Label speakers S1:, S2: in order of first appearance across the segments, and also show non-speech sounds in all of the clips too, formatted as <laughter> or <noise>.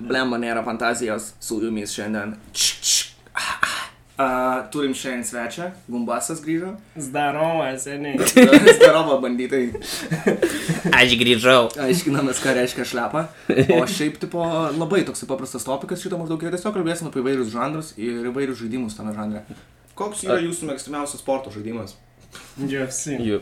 S1: blemba nėra fantazijos su jumis šiandien. Č, č, ah, ah. A, turim šiandien svečią, Gumbasas grįžo.
S2: Zdaroma, seniai.
S1: <laughs> Starovo bandytai.
S3: Aš grįžau.
S1: Aiškinamės, ką reiškia šlepa. O šiaip, tipo, labai toks paprastas topikas šito maždaug. ir Tiesiog kalbėsim apie įvairius žanrus ir įvairius žaidimus tame žanre. Koks yra jūsų mėgstamiausias sporto žaidimas?
S2: UFC.
S3: Jų.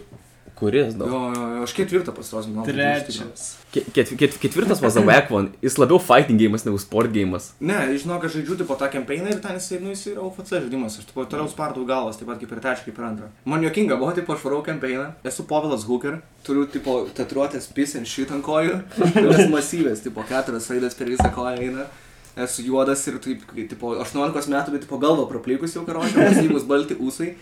S3: Kuris daug?
S1: Jo, jo, jo, aš ketvirtą pastarosim.
S2: Trečias.
S3: Ket, ket, ket- ketvirtas was the whack one. Jis labiau fighting game ne sport game.
S1: Ne, žinau, kad žaidžiu tipo tą kampainą ir ten jisai, nu, jisai yra UFC žaidimas, aš tipo toliau spardau galvas, taip pat kaip ir trečią, kaip ir antrą. Man jokinga buvo, tipo, aš varau kampainą, esu Povilas Hooker, turiu tipo tatuiruotės pis ir šitą ant kojų, jos masyvės, tipo keturias raidės per visą koją eina. Esu juodas ir taip, kai, tipo, 18 metų, bet tipo galva praplikus jau karočią, masyvus balti ūsai.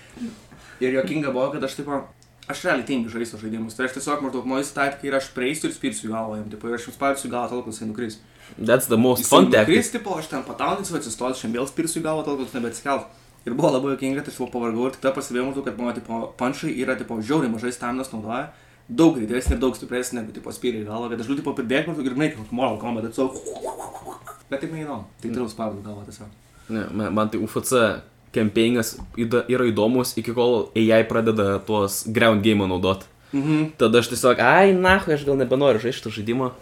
S1: Ir jokinga buvo, kad aš tipo... Aš realiai tingiu žaisti žaidimus, tai aš tiesiog maždaug moju taip, kai aš prieisiu ir spirsiu į galvą, jam, tipo, ir aš jums spirsiu į galvą, tol kol jisai nukris.
S3: That's the most
S1: Jisai
S3: fun tactic.
S1: nukris, tipo, aš ten patauninsiu, atsistosiu, šiandien vėl spirsiu į galvą, tol kol tu nebeatsikelt. Ir buvo labai jokinga, tai aš jau pavargau ir tik tada pastebėjau, maždaug, kad mano tipo, panšai yra tipo žiauriai mažai staminas naudoja, daug greitesnė ir daug stipresnė negu tipo spyriai į galvą, kad aš galiu tipo pridėti maždaug ir naikinti, kaip moral kombat, atsau. Bet taip neįdomu, tai turiu spardų galvą tiesiog.
S3: Ne, man, man tai UFC kampainas yra įdomus iki kol AI pradeda tuos ground game naudot.
S1: Mhm.
S3: Tada aš tiesiog, ai, na, aš gal nebenoriu žaisti to žaidimo.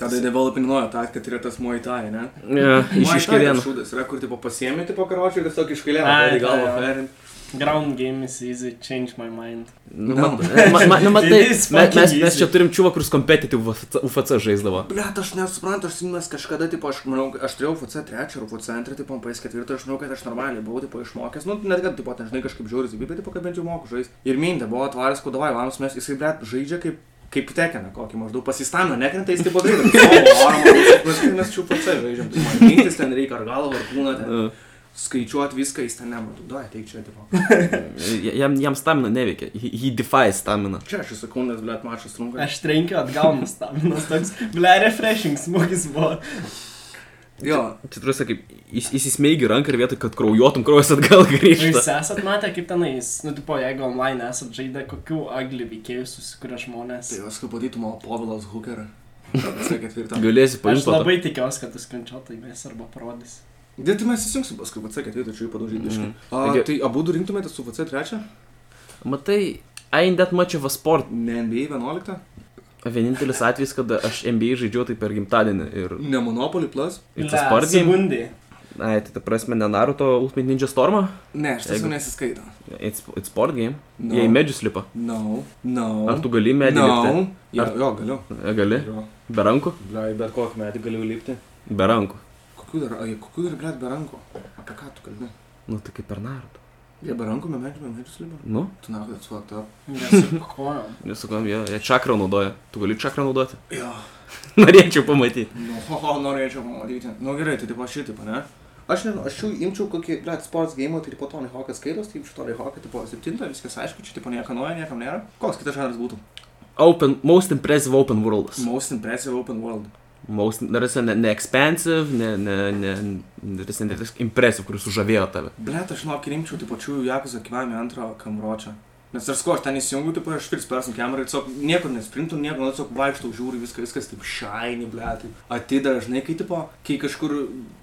S1: Tada developingojo tą, kad tai yra tas muaitai, ne?
S3: Ne, iš
S1: Muay Thai
S3: iškėlėno.
S1: tas šūdas yra, kur tipo pasiemi tipo karočių ir tiesiog iškėlė,
S2: Ai,
S1: tai galvą
S2: tai jo.
S1: ferin.
S2: Ground game is easy, change my mind.
S3: Nu,
S1: No.
S3: mat- ma- ma- nu, matai,
S2: It is
S3: mes, mes,
S2: fucking
S3: mes
S2: easy.
S3: čia turim čiūvą, kuris competitive UFC žaisdavo.
S1: Blet, aš nesuprantu, aš mes kažkada, tipo, aš manau, aš turėjau FC 3 ar FC 2, tipo, PS 4, aš manau, kad aš normaliai buvau, tipo, išmokęs, nu, net kad, tipo, ten, žinai, kažkaip žiūri, bet, tipo, kad bent jau moku žaisti. Ir mintė, buvo atvaręs, kodavai, vanas, mes, jisai, blet, žaidžia kaip, kaip tekina, kokį maždaug pasistano, nekrenta, jis, tipo, greitai. O, o, mes, mes čia FC žaidžiam, tai man mintis ten reikia, ar galvą, ar kūną, ten, skaičiuoti viską, jis ten nematau, duoja, teik čia, tipo.
S3: Ja- Jam, jam stamina neveikia. He, he defies stamina.
S1: Čia aš sakau, nes, blet, mačas trunka.
S2: Aš trenkiu atgal nustabinas toks, ble, refreshing <laughs> smūgis buvo.
S1: Jo,
S3: Čia turiu sakyti, jis įsismeigi ranką ir vietoj, kad kraujuotum, kraujas atgal
S2: O Jūs
S3: grįžta.
S2: esat matę, kaip tenais, nu, tipo, jeigu online esat žaidę, kokių agli veikėjų susikuria žmonės.
S1: tai jos, kaip patytų mano Povilas Hooker. FC 4.
S3: Galėsi
S2: Aš
S3: paimti.
S2: labai tikiuosi, kad tu skrinčiotai mes arba parodys.
S1: Dėti mes įsijungsim paskui VC ketvirtą, čia jį padaužyti biškai.
S3: Mhm.
S1: Mm.
S3: Taigi-
S1: Tai abu du rinktumėte su VC trečią?
S3: Matai, I ain't that much of a sport.
S1: Ne NBA 11?
S3: Vienintelis atvejis, kada aš NBA žaidžiu tai per gimtadienį ir...
S1: Ne Monopoly Plus?
S3: Ir tas sport game.
S2: Segundį.
S3: Na, tai ta prasme, ne Naruto Ultimate Ninja Stormą.
S1: Ne, aš tiesiog
S3: Jeigu-
S1: nesiskaitau.
S3: It's, it's sport game.
S1: No.
S3: No. Jei medžius lipa.
S1: No, no.
S3: Ar tu gali medį?
S1: No. Jo,
S3: Ar-
S1: jo, galiu.
S3: lipti? Gali.
S1: Jo.
S3: Be rankų?
S1: Blei, bet kokį metį galiu lipti.
S3: Be rankų.
S1: Kokių dar, ai, kokių dar, blei, be rankų? Apie ką tu kalbi?
S3: Nu, tai kaip per Naruto.
S1: Jie be rankų, be medžių, be medžių sliba.
S3: Nu,
S1: Tu nakai atsuokta.
S2: Nesukojom.
S3: nesukom, jie, jie čakrą naudoja. Tu gali čakrą naudoti?
S1: Jo.
S3: <laughs> Norėčiau pamatyti.
S1: Nu, <laughs> ho, ho, norėčiau pamatyti. Nu gerai, tai tipo šitą, ne? Aš nežinau, aš jau imčiau kokį, blėt, sports game, tai po Tony Hawk'as skaitos, tai imčiau Tony Hawk'ą, tipo septintą, viskas aišku, čia tipo nieko naujo, niekam nėra. Koks kitas žanras būtų?
S3: Open, most impressive open worlds.
S1: Most impressive open world.
S3: Most, narasi, ne, ne expensive, ne, ne, ne, narasi, ne, tiesiog impressive, kuris sužavėjo tave.
S1: Blėt, aš žinok, rimčiau, tipo čiūjų jakus akivami antro kamročio. Nes ar sko, aš ten įsijungiu, tipo aš firs persim kamerą, tiesiog niekur nesprintu, nieko, nu, tiesiog vaikštau, žiūriu, viskas, viskas taip shiny, blėt. Atidara, žinai, kai tipo, kai kažkur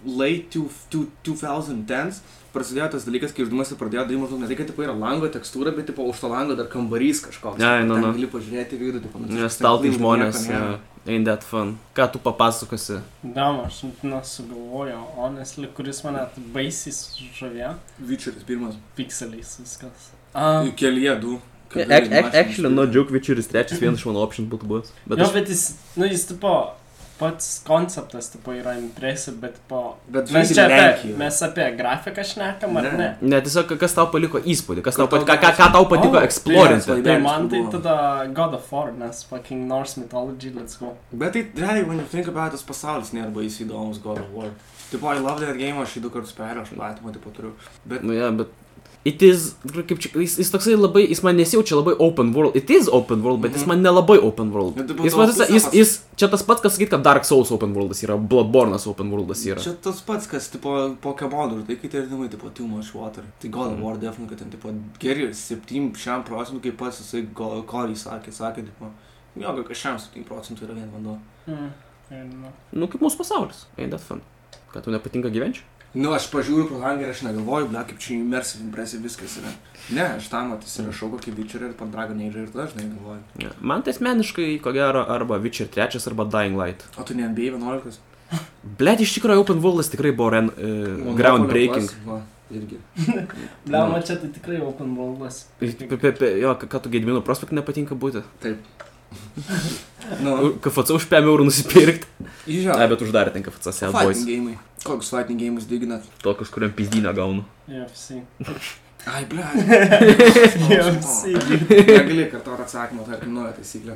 S1: late two- two- 2010s prasidėjo tas dalykas, kai žaidimas ir pradėjo daryti maždaug ne tai, kad tipo yra lango tekstūra, bet tipo už to lango dar kambarys kažkoks.
S3: Ai, nu,
S1: Ten
S3: nu.
S1: Gali pažiūrėti į vidų, tipo, nu,
S3: Nes
S1: tiesiog
S3: taltai
S1: ten
S3: žmonės.
S1: nieko nėra.
S3: jo, Ain't that fun. Ką tu papasakosi?
S2: Dam, aš nu, sugalvojau, honestly, kuris mane baisiai žavėjo.
S1: Vyčeris pirmas.
S2: Pikseliais viskas.
S3: Ah.
S2: A,
S1: Jų kelyje du.
S3: Ac- ac- Actually, no joke, Vičeris trečias vienas iš mano option būtų buvęs.
S2: bet
S3: Bet
S2: jo,
S3: aš...
S2: bet jis, nu, jis tipo, pats konceptas tipo yra impresive, bet po...
S1: Bet
S2: Mes
S1: žaidžiam
S2: čia apie,
S1: Lenkijoje.
S2: mes apie grafiką šnekam, ar
S1: Ne.
S2: ne?
S3: Ne, tiesiog kas tau paliko įspūdį, kas
S1: Kur
S3: tau, pat,
S1: tau
S3: ką, ką, ką tau patiko
S2: O,
S1: tai-
S3: eksplorinti.
S2: Tai
S1: Lenkijoje
S2: man tai
S1: buvo.
S2: tada God of War, nes fucking Norse mythology, let's go.
S1: Bet tai realiai, when you think about it, tas pasaulis nėra baisiai įdomus God of War. Tipo, I love that game, aš jį du kartus perėjau, aš platymą tipo turiu. Bet
S3: Nu, ja, bet... It is, kaip čia, jis, jis toksai labai, jis man nesijaučia labai open world. It is open world, bet jis
S1: Mhm.
S3: man nelabai open world.
S1: Bet tai
S3: Jis,
S1: buvo
S3: man,
S1: tavo
S3: jis,
S1: pusė
S3: jis, čia tas pats, kas sakyt, kad Dark Souls open worldas yra, Bloodborne'as open worldas yra.
S1: čia tas pats, kas tipo Pokemonų, tai kai tai vadinamai tipo Too Much Water. Tai God of
S3: Mhm.
S1: War definitivai, kad ten tipo geri 7 procentų, kaip pats jisai Corey sakė, sakė, tipo, jo, kažkam 7 procentų yra vien vanduo.
S2: Mm. nežinau.
S3: Nu, kaip mūsų pasaulis. Ain't that fun. Kad tu nepatinka gyvenčiu?
S1: Nu, aš pažiūriu pro langą ir aš negalvoju, ble, kaip čia immersive, impresive viskas yra. Ne, aš tam
S3: Mhm.
S1: atsirašau kokį Witcherį ir po Dragon Age ir tada aš negalvoju.
S3: Ja. Man tai asmeniškai, ko gero, arba Witcher 3, arba Dying Light.
S1: O tu ne NBA 11?
S3: Blet, iš tikrųjų, Open Worldas tikrai buvo ren, uh, ground breaking.
S1: Monopoly Plus, va, Irgi.
S2: Bliam, čia tai tikrai open worldas.
S1: Tai
S3: Pe- pe- pe- Jo, ką tu Gedimino prospektą nepatinka būti.
S1: Nu,
S3: U- KFC už 5 eurų nusipirkti.
S1: žiūrėjau.
S3: Ne, bet uždarė ten KFC Sad
S1: Fighting
S3: Boys.
S1: gėjimai. Kokius fighting gėjimus diginat?
S3: Tokius, kuriam pizdinę gaunu.
S2: <laughs> UFC.
S1: Ai, ble.
S2: UFC.
S1: Negali kartuoti atsakymą, tarkim, nauja taisyklė.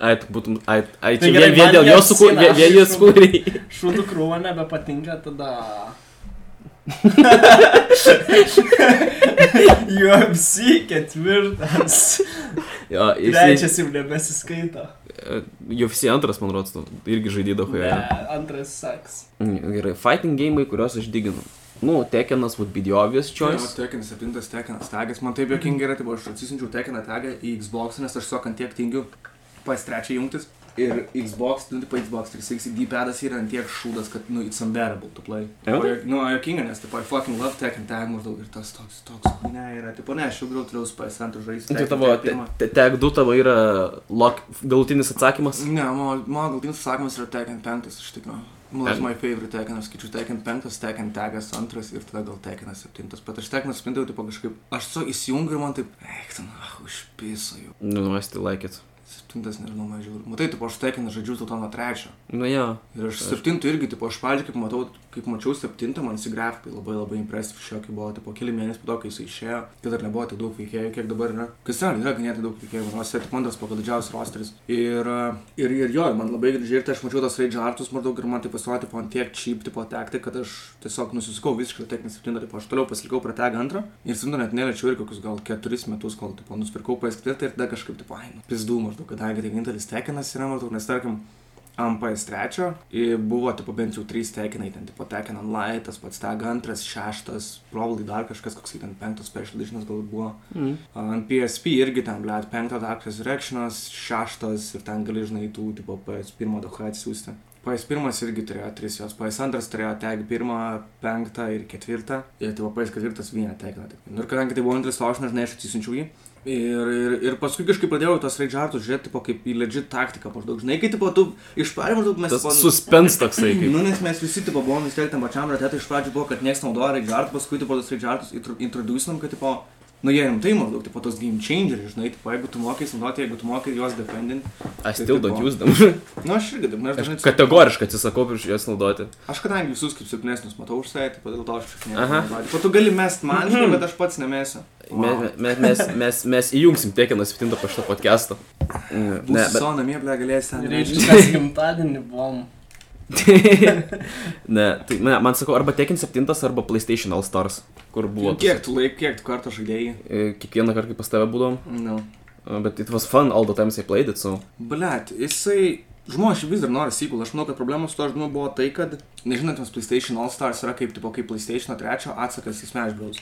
S3: Ai, tu būtum, ai, ai
S2: Tai
S3: čia
S2: gerai,
S3: vien, vien
S2: man
S3: dėl
S2: jie
S3: jos sukūrė,
S2: apsiena,
S3: vien,
S2: aš
S3: vien jos
S2: iššūkau. <laughs>
S3: sukūrė.
S2: Šūdų krūva nebepatinka tada.
S1: <laughs>
S2: UFC ketvirtas.
S3: Jo, jis,
S2: Trečias jau nebesiskaito.
S3: jau visi antras, man rodos, irgi žaidydavo.
S2: Ne,
S3: Yeah.
S2: antras seks.
S3: Gerai, fighting gėjimai, kuriuos aš diginu. Nu, Tekenas would be the obvious
S1: Čios.
S3: choice. Mhm.
S1: Tekinas, septintas tekinas, tegas. Man taip jokingai yra, tai buvo aš atsisinčiau tekiną tegą į Xbox, nes aš tiesiog ant tiek tingiu pas trečią jungtis. Ir Xbox, nu, tipo Xbox 360 D-padas yra ant tiek šūdas, kad, nu, it's unbearable to play.
S3: Really?
S1: Tipo, jo- Nu, jokinga, nes, tipo, I fucking love Tekken tag maždaug ir tas toks, toks, ne, yra, tipo, ne, aš jau gal turėjau PS2 žaisti.
S3: Tai tavo, te- te- tek 2 tavo yra lock, galutinis atsakymas.
S1: Ne, mano mano galtinis atsakymas yra Tekken 5, aš tik, nu. Nu, that's my favorite Tekken, aš skaičiu Tekken 5, Tekken tagas 2 ir tada gal Tekken 7, bet aš Tekken 7 jau taip kažkaip, aš tiesiog įsijungiu ir man taip, eik, ten, ah, užpiso jau.
S3: Nu, nu, aš tai laikėt.
S1: 7, nežinau, mažiau. Matai, tipo, aš Tekken žaidžiu dėl to nuo 3.
S3: Nu, jo.
S1: Ir aš 7 irgi, tipo, aš pavyzdžiui, kaip matau, kaip mačiau 7, man įsigrafikai labai labai impresyvi šiokiai buvo, tipo, keli mėnesiai po to, kai jis išėjo, kai dar nebuvo tiek daug veikėjų, kiek dabar yra. Kas ten yra ganėtinai daug veikėjų, nors 7 pagal didžiausias rosteris. Ir, e, ir, ir jo, ir man labai gražiai ir tai aš mačiau tos Rage Artus maždaug ir man tai pasirodė, tipo, ant tiek cheap, tipo, tekti, kad aš tiesiog nusiskau visiškai tekni 7, tipo, aš toliau pasilikau prie tag 2 ir 7 net neliečiau ir kokius gal 4 metus, kol, tipo, nusipirkau PS4 ir tada kažkaip, tipo, ai, nu, pizdų maždaug, kadangi tai vienintelis tekinas yra maždaug, nes tarkim, MPS3 buvo, tipo, bent jau trys tekinai, ten, tipo, tekin online, tas pats tag antras, šeštas, probably dar kažkas, koks ten penktas special editionas galbūt buvo.
S3: Mm.
S1: Ant PSP irgi ten, blėt, penktas Dark Resurrectionas, šeštas ir ten gali, žinai, tų, tipo, PS1 daug atsiųsti. PS1 irgi turėjo tris jos, PS2 turėjo tag 1, 5 ir 4, ir tipo PS4 vieną tekiną. tik. Nu ir kadangi tai buvo antras, to aš nežinai, aš atsisinčiau jį. Ir, ir, ir paskui kažkaip pradėjau į tos raidžartus žiūrėti, e, tipo, kaip į legit taktiką, maždaug, žinai, kai, e, tipo, tu iš pradžių maždaug mes...
S3: Tas
S1: tipo,
S3: suspens toksai,
S1: <laughs>
S3: kaip.
S1: Nu, nes mes visi, tipo, buvom nustelti tam pačiam rate, tai iš pradžių buvo, kad niekas naudoja raidžartus, paskui, tipo, tos raidžartus introducinam, kad, tipo, nu, jie rimtai maždaug, tipo, tos game changeriai, žinai, tipo, jeigu tu mokai naudoti, jeigu tu mokai juos defendint.
S3: I still don't
S1: tipo-
S3: use them.
S1: Nu, aš irgi, taip,
S3: <laughs>
S1: nes
S3: Aš
S1: dažnai...
S3: kategoriškai atsisakau prieš jas naudoti.
S1: Aš kadangi visus kaip silpnesnius matau už save, tai po dėl to aš šiek
S3: Aha. Mhm.
S1: tiek... Po tu gali mest man, žinai, bet aš pats nemėsiu.
S3: Me, me, mes, mes, mes įjungsim Tekeną 7 po šito podcast'o.
S1: Ne,
S3: Ne, bet...
S1: savo namie, ble, galėsi ten...
S2: Reiškia, mes gimtadienį buvom.
S3: <laughs> ne, tai ne, man sakau, arba Tekken 7, arba PlayStation All Stars, kur buvo. tas-
S1: Kiek tu laik, kiek tu kartų žaidėjai?
S3: E, Kiekvieną kartą, kai pas tave būdom.
S1: Nu.
S3: e, Bet it was fun all the times I played it, so.
S1: Blet, jisai... Žmonės vis dar nori sequel, aš manau, kad problemos su to žaidimu buvo tai, kad, nežinantiems, PlayStation All Stars yra kaip, tipo, kaip PlayStation 3 atsakas į Smash Bros.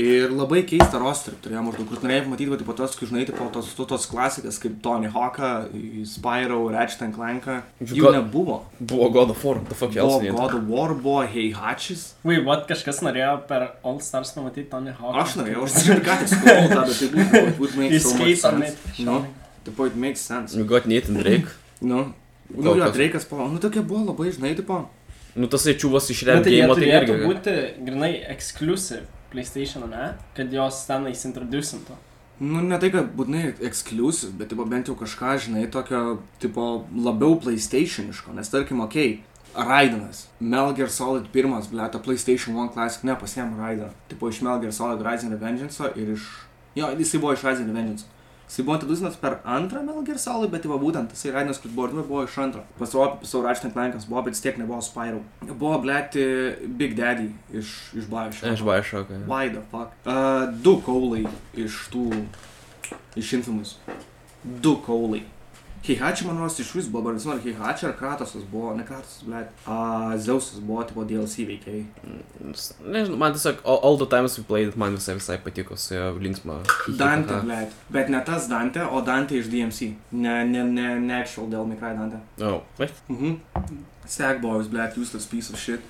S1: Ir labai keista roster turėjo maždaug, kur norėjai matyti, tipo, tos, kai žinai, tipo, tos, tos, tos klasikas kaip Tony Hawk'a, Spyro, Ratchet and Clank'ą. Jų
S3: Gal-
S1: nebuvo.
S3: Buvo God of War, the fuck
S1: Buvo
S3: else. ne?
S1: God of War, buvo Heihačis.
S2: Ui, what kažkas norėjo per All Stars pamatyti Tony Hawk.
S1: Aš norėjau, aš žiūrėjau, ką tik skaičiau, tą, bet tai būtų, it would make so much
S2: Įskaitom net.
S1: sense. Nu, tipo, it makes sense.
S3: You got Nathan Drake.
S1: Nu, nu,
S3: Kol
S1: jo,
S3: kas.
S1: Drake'as, po, nu, tokia buvo labai, žinai, tipo,
S3: Nu tas ečiuvas iš
S2: Bet tai jie
S3: Remgėjimo tai
S2: turėtų
S3: irgi.
S2: būti grinai exclusive PlayStation, ne? Kad jos ten įsintroducintų.
S1: Nu, ne tai, kad būtinai ekskluziv, bet tipo, bent jau kažką, žinai, tokio, tipo, labiau PlayStationiško, nes tarkim, okei, okay, Raidanas, Melger Solid 1, blėta, PlayStation 1 Classic, ne, pasiem Raidaną, tipo, iš Melger Solid Rising Revengeance ir iš... Jo, jisai buvo iš Rising Revengeance. Jisai buvo introducinas per antrą Melger Solid, bet tipo, būtent tasai Raidanas, kuris buvo, originale, buvo iš antro. Pasirodo, savo Ratchet Lankas buvo, bet vis tiek nebuvo Spyro. Buvo, blėti, Big Daddy iš, iš Bavišio.
S3: Aš buvau šokai.
S1: Why the fuck? Uh, du kaulai iš tų. Iš infimus. Du kaulai. Heihachi, man rodos, iš vis buvo, bet nežinau, ar Heihachi ar Kratosas buvo, ne Kratosas, bet uh, Zeusas buvo, tipo DLC veikiai.
S3: Nežinau, man tiesiog all, all the times we played, man visai visai patiko su jo linksma.
S1: Dante, blėt. Bet ne tas Dante, o Dante iš DMC. Ne, ne, ne, ne actual dėl Mikrai Dante.
S3: O, bet.
S1: Mhm. Stagboys, blėt, useless piece of shit.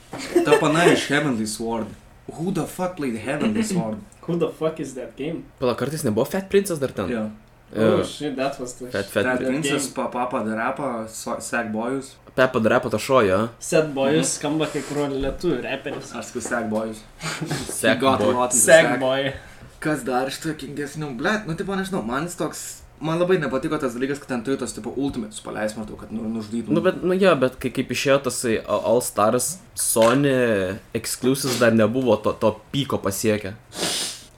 S1: Ta pana iš Heavenly Sword. Who the fuck played
S3: <laughs>
S1: Heavenly Sword?
S2: Who the fuck is that game?
S3: Pala, kartais nebuvo Fat Princess dar ten.
S1: Jo.
S2: Oh
S3: Jo.
S2: shit, that was the
S3: Fat,
S1: Fat
S3: fat,
S1: Dad
S3: Prince.
S1: Princess, Papa the Rapper, So- Stagboys.
S3: Pepa Drapo to šojo.
S2: Set
S3: Mm-hmm.
S1: Mhm.
S2: Boys skamba kaip kurio lietuvių reperis.
S1: Aš sakau Stagboys.
S3: Sek
S1: Got
S3: boy.
S1: rotten
S2: Sek
S1: stag.
S2: Boy. <laughs>
S1: Kas dar iš to kingesnių, blėt, nu tipo nežinau, man jis toks, man labai nepatiko tas dalykas, kad ten turi tos tipo ultimates paleis, matau, kad nu, nužudytum.
S3: Nu, bet, nu jo, bet kai kaip išėjo tasai A- All Stars, Sony Exclusives dar nebuvo to, to pyko pasiekę.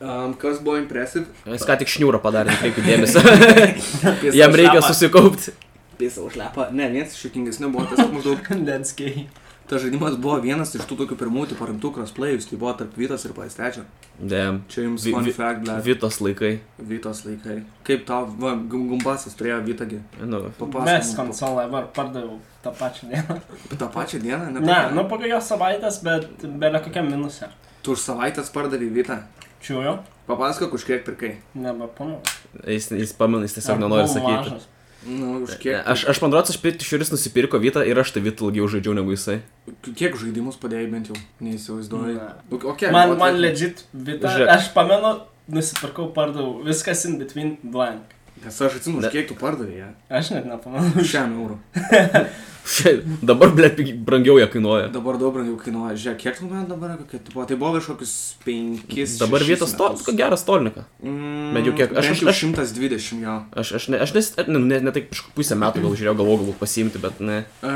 S1: Um, kas buvo <laughs> impresive?
S3: Jis ką tik šniūrą padarė, nekreipkite
S1: <laughs>
S3: dėmesio. Jam reikia susikaupti.
S1: Pisa užlepa. Ne, vienas iš juokingesnių buvo tas maždaug.
S2: Kandenskiai.
S1: Tas žaidimas buvo vienas iš tų tokių pirmųjų tipo rimtų crossplayus, tai buvo tarp Vytos ir Paistečio.
S3: Dėm.
S1: Čia jums
S3: Vi-
S1: fun
S3: vi-
S1: fact, blėt.
S3: Vitos laikai.
S1: Vytos laikai. Kaip tau, va, gum- gumbasas turėjo Vytagį.
S3: Nu,
S2: Mes konsolą dabar pardaviau tą pačią dieną.
S1: Pa- tą pačią dieną, ne?
S2: Ne,
S1: pačią-
S2: nu po kokios savaitės, bet belė kokiam minusė.
S1: Tu už savaitę pardavai Vytą.
S2: Čiūjo,
S1: Papasakok, už kiek pirkai.
S2: nebepamau.
S3: jis, jis pamina, jis tiesiog nenori sakyti.
S1: Nu, už
S3: Ne,
S1: kiek.
S3: Aš, aš man atrodo, aš pirkti šiuris nusipirko vietą ir aš tą vietą ilgiau žaidžiau negu jisai. <laughs>
S1: Kiek žaidimus padėjai bent jau, neįsivaizduoju.
S2: Man,
S1: O- Okay,
S2: man,
S1: buvo
S2: man
S1: taip-
S2: legit vita.
S3: Žiūrėk.
S2: Aš pamenu, nusipirkau, pardaviau. Viskas in between blank.
S1: Nes aš atsimenu,
S3: Ne.
S1: už kiek tu pardavai
S3: <laughs>
S1: ją.
S2: Aš net nepamenu.
S1: Už 100 eurų.
S3: Šia, dabar, ble, brangiau jie kainuoja.
S1: Dabar daug brangiau kainuoja. Žiūrėk, kiek tu man dabar, kokia, tipo, tai buvo kažkokius 5.
S3: Dabar vietos to, ko geras tolnikas.
S1: Bet
S3: Bet jau kiek- aš-
S1: Aš
S3: aš-
S1: Mm, jau
S3: aš-
S1: 120 jo.
S3: Aš, aš, ne, aš nes, ne, ne, ne taip kažkur pusę metų gal žiūrėjau, galvoju, galbūt pasiimti, bet ne.
S1: E,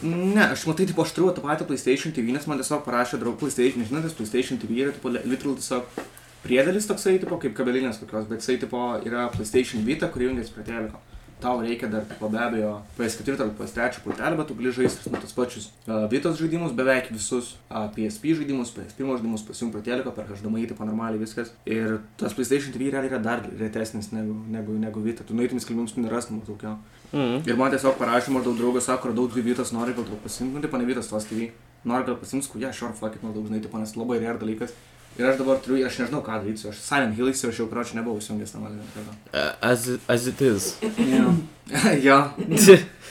S1: ne, aš matai, tipo, aš turiu tą patį PlayStation TV, nes man tiesiog parašė draugų PlayStation, nežinau, tas PlayStation TV yra, tipo, li- literal tiesiog priedelis toksai, tipo, kaip kabelinės kokios, bet jisai, tipo, yra PlayStation Vita, kurį jungiasi prie teliko. Tau reikia dar, tipo, be abejo, PS4 ar PS3 pultelį, bet tu gali žaisti nu, tos pačius uh, Vitos žaidimus, beveik visus uh, PSP žaidimus, PS1 žaidimus pasijungi prie teliko, per HDMI, tipo, normaliai viskas. Ir tas PlayStation TV realiai yra dar retesnis negu, negu, negu Vita. Tu nueitum į skelbimus, tu nerastum tokio.
S3: Mm.
S1: Ir man tiesiog parašė, maždaug draugas sako, radau dvi vietas, nori gal tau pasimti, nu tai panevytas tos TV, nori gal pasimti, kuo, yeah, sure, fuck it, maždaug, žinai, tai panas labai rare dalykas. Ir aš dabar turiu, aš nežinau ką darysiu, aš Silent Hill įsirašiau, kur aš nebuvau įsijungęs namą.
S3: As, as it is.
S1: <laughs> Jo,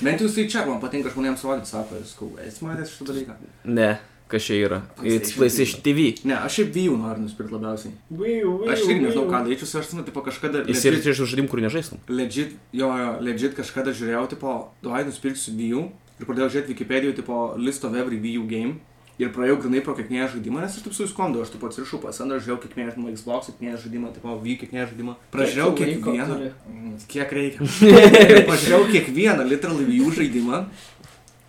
S1: bent jau jisai čia, man patinka žmonėms rodyti, sako, jis, sakau, esi matęs šitą dalyką.
S3: ne, kas čia yra. It's
S1: PlayStation
S3: PlayStation TV.
S1: Ne, aš šiaip vyjų noriu nusipirkti labiausiai. Aš
S2: Aš
S1: irgi nežinau ką daryčiau, su juo, aš žinau, tipo kažkada...
S3: Jis
S1: legit-
S3: yra iš žaidimų, kur nežaistum.
S1: Legit, jo, jo, legit kažkada žiūrėjau, tipo, duai nusipirksiu View ir pradėjau žiūrėti Wikipedijoje, tipo, list of every View game. Ir praėjau grinai pro kiekvieną žaidimą, nes aš taip susiskondu, aš taip atsirišau pas Andrą, žiūrėjau kiekvieną žaidimą, Xbox, kiekvieną žaidimą, tipo, View, kiekvieną žaidimą. Pražiūrėjau kiekvieną. Mm, Kiek reikia. <laughs> Ir Pažiūrėjau kiekvieną literally View žaidimą.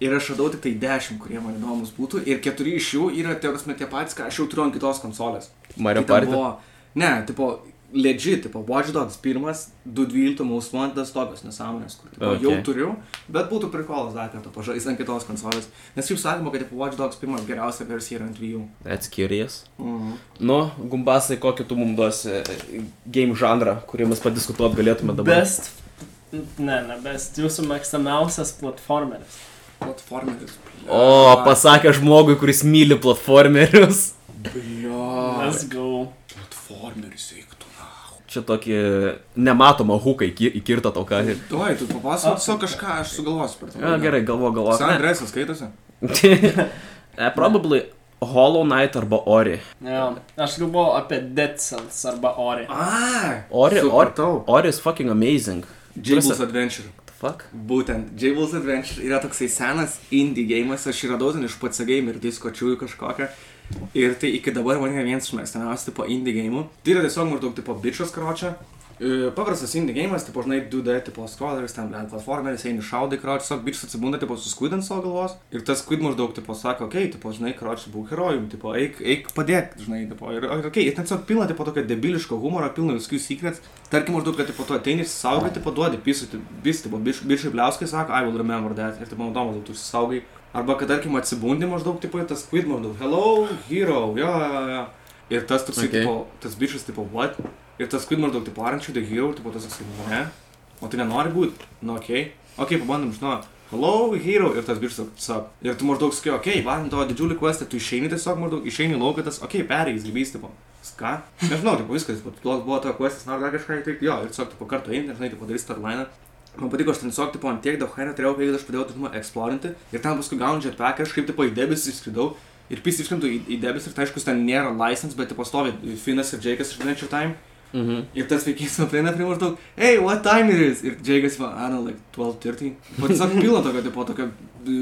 S1: Ir aš radau tik tai 10, kurie man įdomus būtų. Ir keturi iš jų yra, tie, prasme, tie patys, ką aš jau turiu ant kitos konsolės.
S3: Mario
S1: Tai ten
S3: Party.
S1: buvo- Ne, tipo, legit, tipo, Watch Dogs pirmas, 2.12 Most Wanted tokios nesąmonės, kur tipo, okay. jau
S3: Okay.
S1: turiu, bet būtų prikolas dar kartą pažaisti ant kitos konsolės. Nes jau sakoma, kad tipo, Watch Dogs pirmas geriausia versija yra ant dviejų.
S3: Atskirijas.
S1: Mhm.
S3: Nu, gumbasai, kokį tu mums duosi e, game žanrą, kurį mes padiskutuot galėtume dabar.
S2: Best. Ne, ne, best. Jūsų mėgstamiausias platformeris.
S1: Platformeris.
S3: O, pasakė žmogui, kuris myli platformerius.
S1: Blio.
S2: Let's go.
S1: Platformeris eiktų.
S3: Čia tokį nematomą huką įki- įkirto tau ką.
S1: Tuoj, tu papasakok savo kažką, aš sugalvosiu per
S3: Na gerai, galvo, galvo.
S1: San
S3: <laughs>
S1: Andresas skaitosi?
S3: Probably Hollow Knight arba Ori.
S2: Jo, aš galvoju apie Dead Cells arba Ori.
S1: A,
S3: Ori, Ori.
S1: supratau.
S3: Ori is fucking amazing.
S1: Jables
S3: Prasa-
S1: Adventure.
S3: The fuck?
S1: Būtent, Jables Adventure yra toksai senas indie gėjimas, aš jį radau ten iš pats game ir diskočiųjų kažkokią. Ir tai iki dabar man yra vienas iš mėgstamiausių tipo indie gėjimų. Tai yra tiesiog maždaug tipo bičios kročia. Paprastas indie gėjimas, tipo, žinai, 2D, tipo, scrolleris, ten, bent, platformeris, eini šaudai, kročia, tiesiog bičias atsibunda, tipo, suskuidant savo galvos. Ir tas squid maždaug, tipo, sako, okei, okay, tipo, žinai, kročia, būk herojum, tipo, eik, eik padėk, žinai, tipo, ir, okei, okay, ir ten tiesiog pilna, tipo, tokio debiliško humoro, pilna viskių secrets. Tarkim, maždaug, kad, tipo, tu ateini, saugai, tipo, duodi, pisui, bis, tipo, bič- bičiai bliauskai, sako, I will remember that. Ir, tipo, įdomu, tu saugai. Arba, kad, tarkim, atsibundi maždaug, tipo, ir tas squid maždaug, hello, hero, jo, jo, jo. Ir tas, toksai,
S3: Okay.
S1: okay. tipo, tas bičias, tipo, what? Ir tas squid maždaug, tipo, arenčių, the hero, tipo, tas, toksai, ne. O tu nenori būti, nu, okei. Okay. okei, pabandom iš naujo. Hello, hero ir tas bišas sap. Ir tu maždaug sakai, okei, okay, vadin tavo didžiulį questą, tu išeini tiesiog maždaug, išeini laukatas, okei, okay, perėjai, grybys, tipo. S- Ką? Nežinau, tipo viskas, tipo, tu toks buvo tavo questas, nori dar kažką įteikti, jo, ir tiesiog, tipo, kartu eini, nežinai, tipo, darysi tarlainą. Man patiko, aš ten tiesiog, tipo, ant tiek daug haino turėjau, kai aš tai pradėjau, tipo, eksplorinti. Ir ten paskui gaunu jetpack, aš kaip, tipo, į debesį išskridau. Ir pys iškrintu į, į debesį, ir tai aišku, ten nėra license, bet, tipo, stovi Finas ir Jake'as iš Adventure Time.
S3: Mhm.
S1: Ir tas vaikinas man prieina prie maždaug, hey, what time it is? Ir Jake'as man, I don't know, like 12.30. O tiesiog pila tokio, tipo, tokio, e,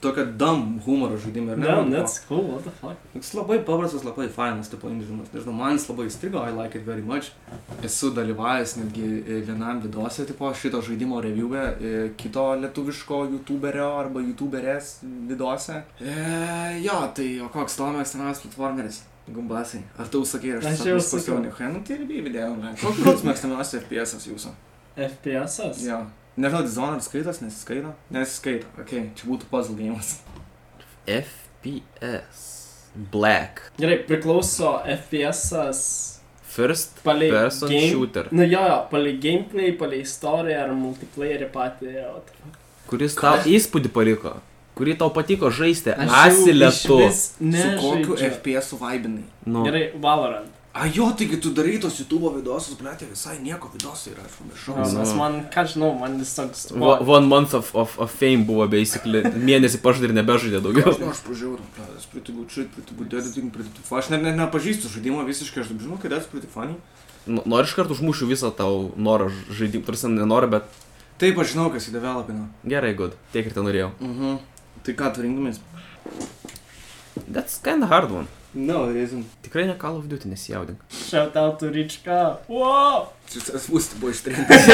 S1: tokio dumb humoro žaidimą.
S2: No, that's cool, what the fuck.
S1: Jis labai paprastas, labai fainas, tipo, inžinimas. Nežinau, man jis labai įstrigo, I like it very much. Esu dalyvavęs netgi e, vienam vidose, tipo, šito žaidimo review'e, e, kito lietuviško youtuberio arba youtuberės vidose. E, jo, tai o koks Tomas senas platformeris? Gumbasai. Ar tu sakei, aš
S2: Aš jau sakiau.
S1: sakiau, ne, nu tai ir bei video, man. Koks koks mėgstamiausias FPS'as jūsų?
S2: FPS'as?
S1: Jo. Nežinau, Dishonored skaitos, nesiskaito? Nesiskaito, okei, okay, čia būtų puzzle game'as.
S3: FPS. Black.
S2: Gerai, priklauso FPS'as
S3: First
S2: palei...
S3: person
S2: game-
S3: shooter.
S2: Nu jo, jo, palei gameplay, palei istoriją ar multiplayerį patį. jo, what the fuck.
S3: Kuris
S2: Ką?
S3: tau įspūdį paliko. Kurį tau patiko žaisti.
S2: Aš jau
S3: Asilėtu.
S2: iš vis
S1: Su kokiu
S2: nežaidžiu.
S1: FPS'u vaibinai?
S3: Nu,
S2: Gerai, Valorant.
S1: A jo, taigi tu darai tos YouTube vidosus, blėtė, visai nieko vidosai yra, aš pamiršau.
S2: Nes
S3: Nu.
S2: no. man, ką žinau, man vis toks...
S3: wa- One month of, of, of fame buvo basically. Mėnesį pažadė ir nebežaidė daugiau.
S1: Aš, nu, aš pažiūrėjau, blėtė, aš pritibu čia, pritibu dediting, pritibu fa. Aš net ne, nepažįstu žaidimo visiškai, aš taip žinau, kad esu pritifani.
S3: Nu, Nori iš karto užmušiu visą tau norą žaidimą. Tarsi nenori, bet
S1: Taip, aš žinau, kas į developino.
S3: gerai, good. Tiek ir ten norėjau.
S2: Mm.
S1: Mhm. Tai ką, tu rinktumės?
S3: That's kinda hard one.
S1: No, reason.
S3: Tikrai ne Call of Duty nesijaudink.
S2: <laughs> Shout out to Rička. Wow!
S1: Tas būsti buvo ištrintas.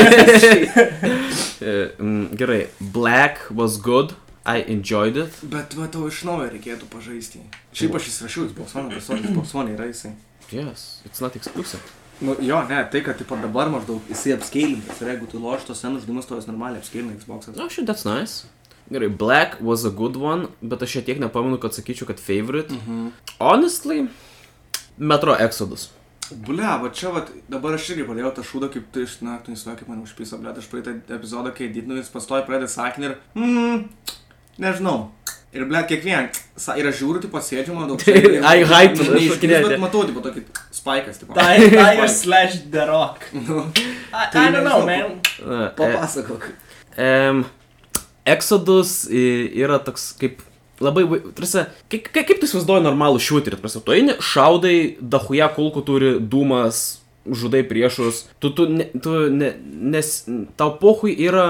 S3: E, mm, Gerai, Black was good. I enjoyed it.
S1: <laughs> Bet va, tau iš naujo reikėtų pažaisti. Šiaip aš įsirašiau, jis Boksonė, Boksonė, Boksonė yra jisai.
S3: Yes, it's not exclusive.
S1: Nu, jo, ne, tai kad tipo dabar maždaug jisai apskailintas ir jeigu tu loši tos senus žaidimus, to jis normaliai apskailina Xbox'as.
S3: No, Oh, shit, that's nice. Gerai, Black was a good one, bet aš šiek tiek nepamenu, kad sakyčiau, kad favorite.
S1: Mhm.
S3: Honestly, Metro Exodus.
S1: Ble, va čia, va, dabar aš irgi pradėjau tą šūdą, kaip tu iš naktų nesuvoki, kaip man užpisa, ble, tai aš praeitą epizodą, kai didinu, jis pastoja pradeda sakinį ir, mm, nežinau. Ir, ble, kiekvien, sa- ir aš žiūriu, tipo, sėdžiu, man
S3: <laughs>
S1: daug.
S3: Tai, ai, hype, tada šokinėti.
S1: Bet matau, tipo, tokį spaikas,
S3: <laughs>
S1: tipo.
S2: Tai
S1: <laughs>
S2: Tire slash The Rock.
S1: Nu,
S2: I,
S1: Tai
S2: I don't know,
S1: nežinau,
S2: man.
S3: Uh,
S1: papasakok.
S3: Um, Exodus i- yra toks kaip labai, vai- tarsi, kaip, kaip, kaip tu įsivaizduoji normalų šūterį, tarsi, tu eini, šaudai, dahuja kulkų turi, dūmas, žudai priešus, tu, tu, ne, tu ne, nes tau pohui yra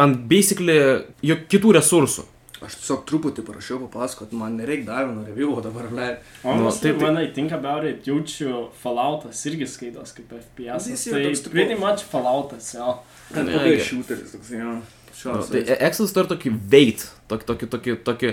S3: ant basically jok, kitų resursų.
S1: <laughs> Aš tiesiog truputį parašiau, papasakot, man nereik dar vieno review o dabar, ble.
S3: Nu,
S2: Honestly, no,
S3: taip, tai-
S2: when I think about it, jaučiu Falloutas irgi skaitos kaip FPS.
S1: Jis yra
S2: Tai
S1: toks tipo-
S2: pretty much Falloutas, jo.
S1: Ten
S3: Ne,
S1: labai
S3: gerai.
S1: šūteris toks, jo.
S3: No,
S1: Šios.
S3: tai e- Exodus turi tokį veit, tokį, tokį, tokį, tokį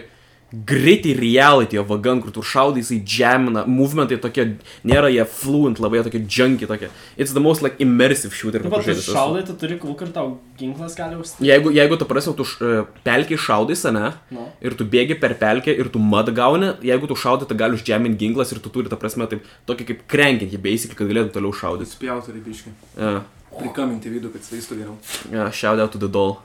S3: gritty reality jo vagan, kur tu šaudai, jisai jamina, movementai tokie, nėra jie fluent, labai jie tokie junkie, tokie. It's the most like immersive shooter.
S2: Taip
S3: kokį
S2: pat tu
S3: žaidęs esu.
S2: šaudai, tu turi kulką ir tau ginklas gali užstikti.
S3: Jeigu, jeigu tu prasme, tu š- e, pelkiai šaudai sene
S2: Nu.
S3: ir tu bėgi per pelkę ir tu mad gauni, jeigu tu šaudai, tai gali uždžiaminti ginklas ir tu turi, ta prasme, taip, tokį kaip krenkinti, basic, kad galėtum toliau šaudyti.
S1: Spjauti reibiškai.
S3: Uh,
S1: Prikaminti vidų, kad svaistų geriau.
S3: uh, shout out to the doll.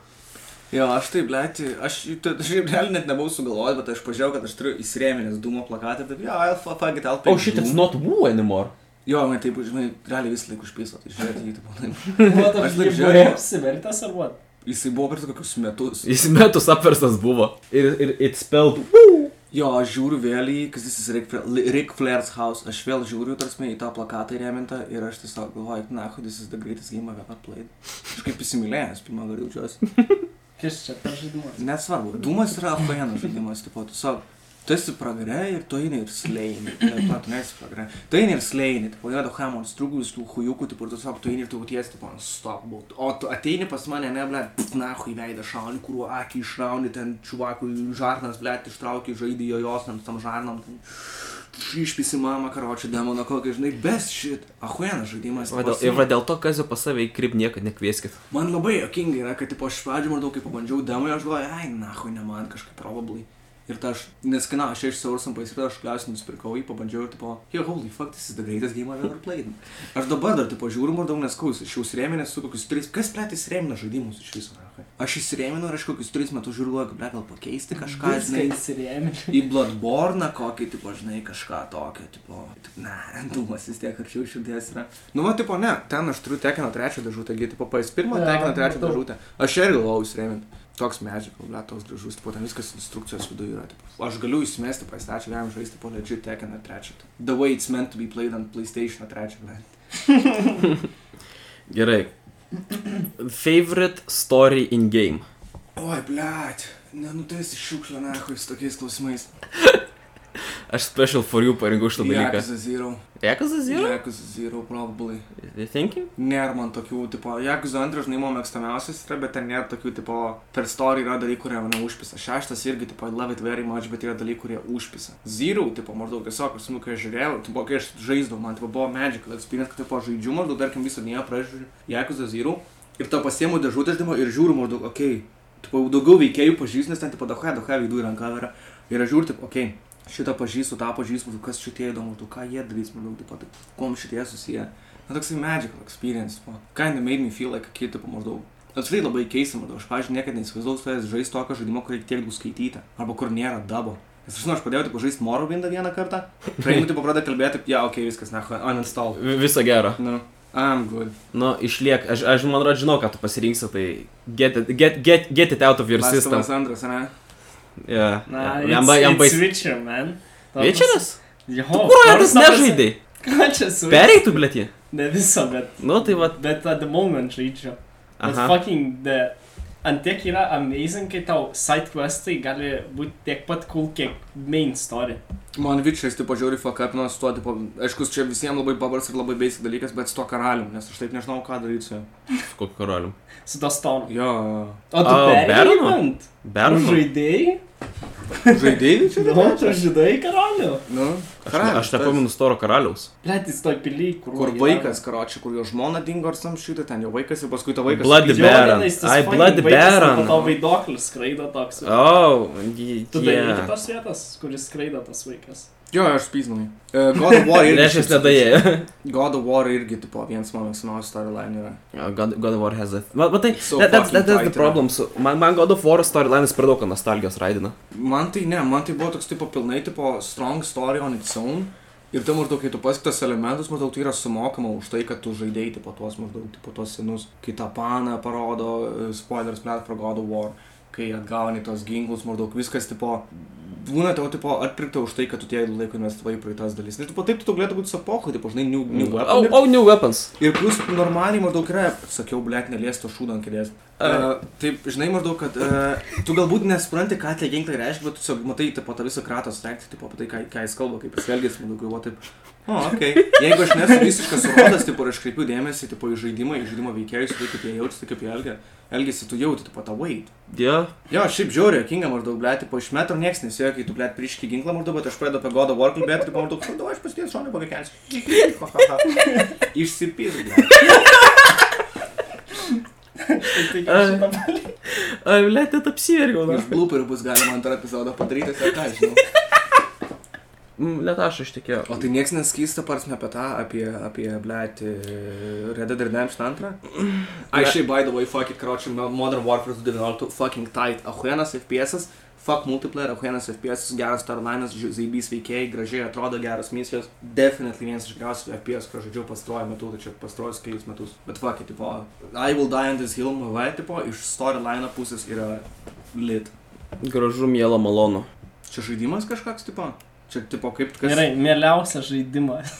S1: Jo, aš tai, blėt, aš, t- aš realiai net nebuvau sugalvojęs, bet aš pažiūrėjau, kad aš turiu įsirėminęs dūmo plakatą, bet jo, yeah, fuck it, I'll
S3: O
S1: pick
S3: oh, shit, it's
S1: Doom.
S3: not woo anymore.
S1: Jo, man taip, žinai, realiai visą laiką užpiso, tai žiūrėti jį, taip,
S3: <laughs>
S2: Buvo
S1: Aš
S2: tas
S1: taip
S2: žaidimas.
S1: žiūrėjau.
S2: Buvo apsivertęs ar what?
S1: jisai buvo per kokius metus.
S3: Jis metus apversas buvo. Ir, ir it spelled woo.
S1: Jo, aš žiūriu vėl į, kas jis Rick, Fla- Li- Rick Flair's house, aš vėl žiūriu, tarsi, į tą plakatą įrėmintą ir aš tiesiog galvoju, na, who this is the greatest game I've ever played. Aš kaip įsimylėjęs, pirmą kartą jaučiuosi.
S2: Kas čia per žaidimas?
S1: Nesvarbu, dūmas yra afuenas žaidimas, tipo, tiesiog. Tu esi pragare ir tu eini ir sleini. Ne, tu nesi pragare. Tu eini ir sleini, tipo, jo, duham ant strūgus, tų hujukų, tipo, ir tiesiog tu eini ir tu jautiesi, tipo, ant stop, būt. O tu ateini pas mane, ne, ble, na, hui veidą šauni, kuriuo akį išrauni, ten čuvakui žarnas, ble, ištrauki, žaidė jo jos, ant tam žarnam, ten išpisi mamą, karočią demoną, kokį, žinai, best shit. Ahuenas žaidimas.
S3: Va
S1: tipo,
S3: dėl- Ir va dėl to, kas jau pas save įkryp niekad nekvieskit.
S1: Man labai jokinga yra, kad tipo, aš iš pradžių maždaug kai pabandžiau demą, aš galvoju, ai, nahui, ne man kažkaip probably. Ir ta aš neskinau, aš iš Saursampais ir tada aš galiausiai nusipirkau jį, pabandžiau ir tipo, jo, holy fuck, this is the greatest game I've ever played. Aš dabar dar tipo žiūriu, man daug neskausi, aš jau įsirėminęs su kokius tris, kas plėt įsirėmina žaidimus iš viso. aha. Aš įsirėminu ir aš kokius tris metus žiūriu, galvoju, "Blet, gal pakeisti kažką, žinai,
S2: įsirėmė.
S1: į Bloodborne kokį, tipo, žinai, kažką tokio, tipo, taip, na, dumas vis tiek arčiau širdies yra. Nu, va, tipo, ne, ten aš turiu tekiną trečią dėžutę, taigi, tipo, pais pirmą
S2: Jo,
S1: tekiną trečią
S2: matau.
S1: dėžutę. Aš irgi galvojau įsirėminti. Toks medžiagas, ble, toks gražus, tipo, ten viskas instrukcijos viduje yra. Tipo, aš galiu įsimesti pastatį, galim žaisti, tipo, ledžiu tekiną trečią. The way it's meant to be played ant PlayStation trečią, ble.
S3: Gerai. Favorite story in game.
S1: Oi, ble, nu, tai nenutėsi šiukšlę, na, su tokiais klausimais.
S3: Aš special for you parinkau šitą dalyką.
S1: Yakuza Zero.
S3: Yakuza Zero?
S1: Yakuza Zero, probably.
S3: You thinking?
S1: Nėra man tokių, tipo, Jakuzo antras, žinai, mano mėgstamiausias yra, bet ten nėra tokių, tipo, per storį yra dalykų, kurie mane užpisa. Šeštas irgi, tipo, I love it very much, bet yra dalykų, kurie užpisa. Zero, tipo, maždaug tiesiog, aš, nu, kai aš žiūrėjau, tipo, kai aš žaisdavau, man, tipo, buvo magical experience, kad, tipo, žaidžiu, maždaug, tarkim, visą dieną pražiūriu Jakuzo Zero ir to pasiemu dėžutę žaidimo ir žiūriu, maždaug, okei, okay. tipo, jau daugiau veikėjų pažįstu, nes ten, tipo, dahoja, dahoja, vidų ir ranka yra. Ir aš žiūriu, tipo, okei. Okay. Šitą pažįstu, tą pažįstu, maždaug, kas šitie įdomu, tu ką jie darys, manau, taip pat, kuom šitie susiję. Na, toksai magical experience, po. Kinda made me feel like a kid, tipo, maždaug. Apskritai labai keista, maždaug. Aš, pažiūrėjau, niekada neįsivaizdavau su jais žaisti tokio žaidimo, kur reikia tiek daug skaityti. Arba kur nėra dabo. Nes aš žinau, aš pradėjau, tipo, žaisti Morrowindą vieną kartą. Praeinu, tipo, pradėjau kalbėti, ja, okei, okay, viskas, na, uninstall.
S3: Vi- Viso gero.
S1: Nu, I'm good.
S3: Nu, išliek, aš, aš man atrodo žinau, ką tu pasirinksi, tai get it, get, get, get it out of your
S1: Last of
S3: system.
S1: Us Antras, ne?
S3: Yeah.
S2: Na,
S3: yeah. Jam, ba- jam
S2: baigė.
S3: baisu.
S2: Switcher, man. Ta prasme-
S3: Večeras?
S2: Jo,
S3: Kruojatas
S2: ta prasme-
S3: nežaidai.
S2: <laughs> Ką čia su...
S3: Pereitų, blėt jį.
S2: Ne viso, bet...
S3: Nu, tai va.
S2: Bet at the moment žaidžiu. Bet
S3: Aha.
S2: fucking the... Antiek yra amazing, kai tau side questai gali būti tiek pat cool, kiek main story.
S1: Man Vičiais, tipo, žiūri, fuck up, nors tuo, tipo, aišku, čia visiems labai paprastas ir labai basic dalykas, bet su to karalium, nes aš taip nežinau, ką daryti su juo.
S3: Kokiu karaliu?
S2: Su to stonu.
S1: Jo,
S2: O tu
S3: A,
S2: perėjai,
S3: Bernu?
S2: man? Ar
S3: Bernu.
S2: žaidėjai?
S1: žaidėjai čia?
S2: Nu, tu žaidėjai, karaliu.
S1: Nu,
S3: Aš, aš nepamenu storo karaliaus.
S2: Letis toj piliai, kur...
S1: Kur vaikas, karoči, kur jo žmona dingo ar samšyta, ten jo vaikas ir paskui to vaikas.
S3: Bloody Baron. Ai, Blood Baron.
S2: O vaidoklis skraido toks.
S3: O, oh,
S2: Tu yeah. darai
S3: jie.
S2: kitas vietas, kuris skraido tas vaikas.
S1: Jo, aš spyznau. E, God of
S3: <laughs>
S1: War irgi.
S3: Reiškia, nedai.
S1: God of War irgi, tipo, vienas mano mėgstamiausių storyline yra.
S3: Uh, God, God of War has a... Va, va tai,
S1: So
S3: that, that's,
S1: fucking
S3: that, that's the
S1: tight,
S3: problem. Su, man, man God of War storylines per daug nostalgijos raidina.
S1: Man tai ne, man tai buvo toks, tipo, pilnai, tipo, strong story on its own. Ir tai maždaug, kai tu pasitas elementus, maždaug tai yra sumokama už tai, kad tu žaidėjai, tipo, tuos maždaug, tipo, tuos senus. Kita pana parodo, e, spoilers, net for God of War, kai atgauni tos ginklus, maždaug viskas, tipo, būna tavo, tipo, atpirkta už tai, kad tu tiek laiko investavai į praeitas dalis. Ir, tipo, taip tu galėtum būti sapoku, tipo, žinai, new, new
S3: oh,
S1: weapon. ir-
S3: oh, new weapons.
S1: Ir plus normaliai maždaug yra, sakiau, blėt, neliesto šūdo ant kėdės. Uh, taip, žinai maždaug, kad uh, tu galbūt nesupranti, ką tie ginklai reiškia, bet tu tiesiog matai tipo, tą visą kratos reakciją, tipo, apie tai, ką, ką jis kalba, kaip jis elgėsi, man daugiau, taip. O, okei. Okay. Jeigu aš nesu visiškas surodas, tipo, ir aš kreipiu dėmesį, tipo, į žaidimą, į žaidimo veikėjus, tai kaip jie jaučiasi, kaip jie elgia- elgiasi, tu jauti, tipo, tą wait.
S3: Yeah.
S1: Jo, šiaip žiauriai, jokinga maždaug, blėt, tipo, iš metro nieks nesijokia, kai tu, blėt, priški ginklą maždaug, bet aš pradedu apie God of War kalbėti, tipo, maždaug, šau, aš pasidėjau šonį <laughs> pakekelsiu. Išsipirkau.
S2: Tai
S3: Ai.
S2: šitą
S3: Ai, blėt, net apsivergiau.
S1: Iš blūperių bus galima antrą epizodą padaryti, tai ką aš žinau.
S3: Net Mm, aš ištikėjau.
S1: O tai nieks neskysta, parsime apie tą, apie, apie, blėt, Red Dead Redemption antrą.
S3: Ble-
S1: Aš šiaip, by the way, fuck it, kročiu, Modern Warfare 19, fucking tight, ahuenas FPS, fuck multiplayer, ahuenas FPS, geras tarlainas, zaibys veikėjai, gražiai atrodo, geras misijos. Definitely vienas iš geriausių FPS, ką žaidžiau pastaruoju metu, tai čia pastaruoju kelius metus. Bet fuck it, tipo, I will die on this hill, MV, tipo, iš storyline pusės yra lit.
S3: Gražu, mėla, malonu.
S1: Čia žaidimas kažkoks, tipo? Čia, tipo, kaip kas...
S2: Gerai, mėliausias žaidimas.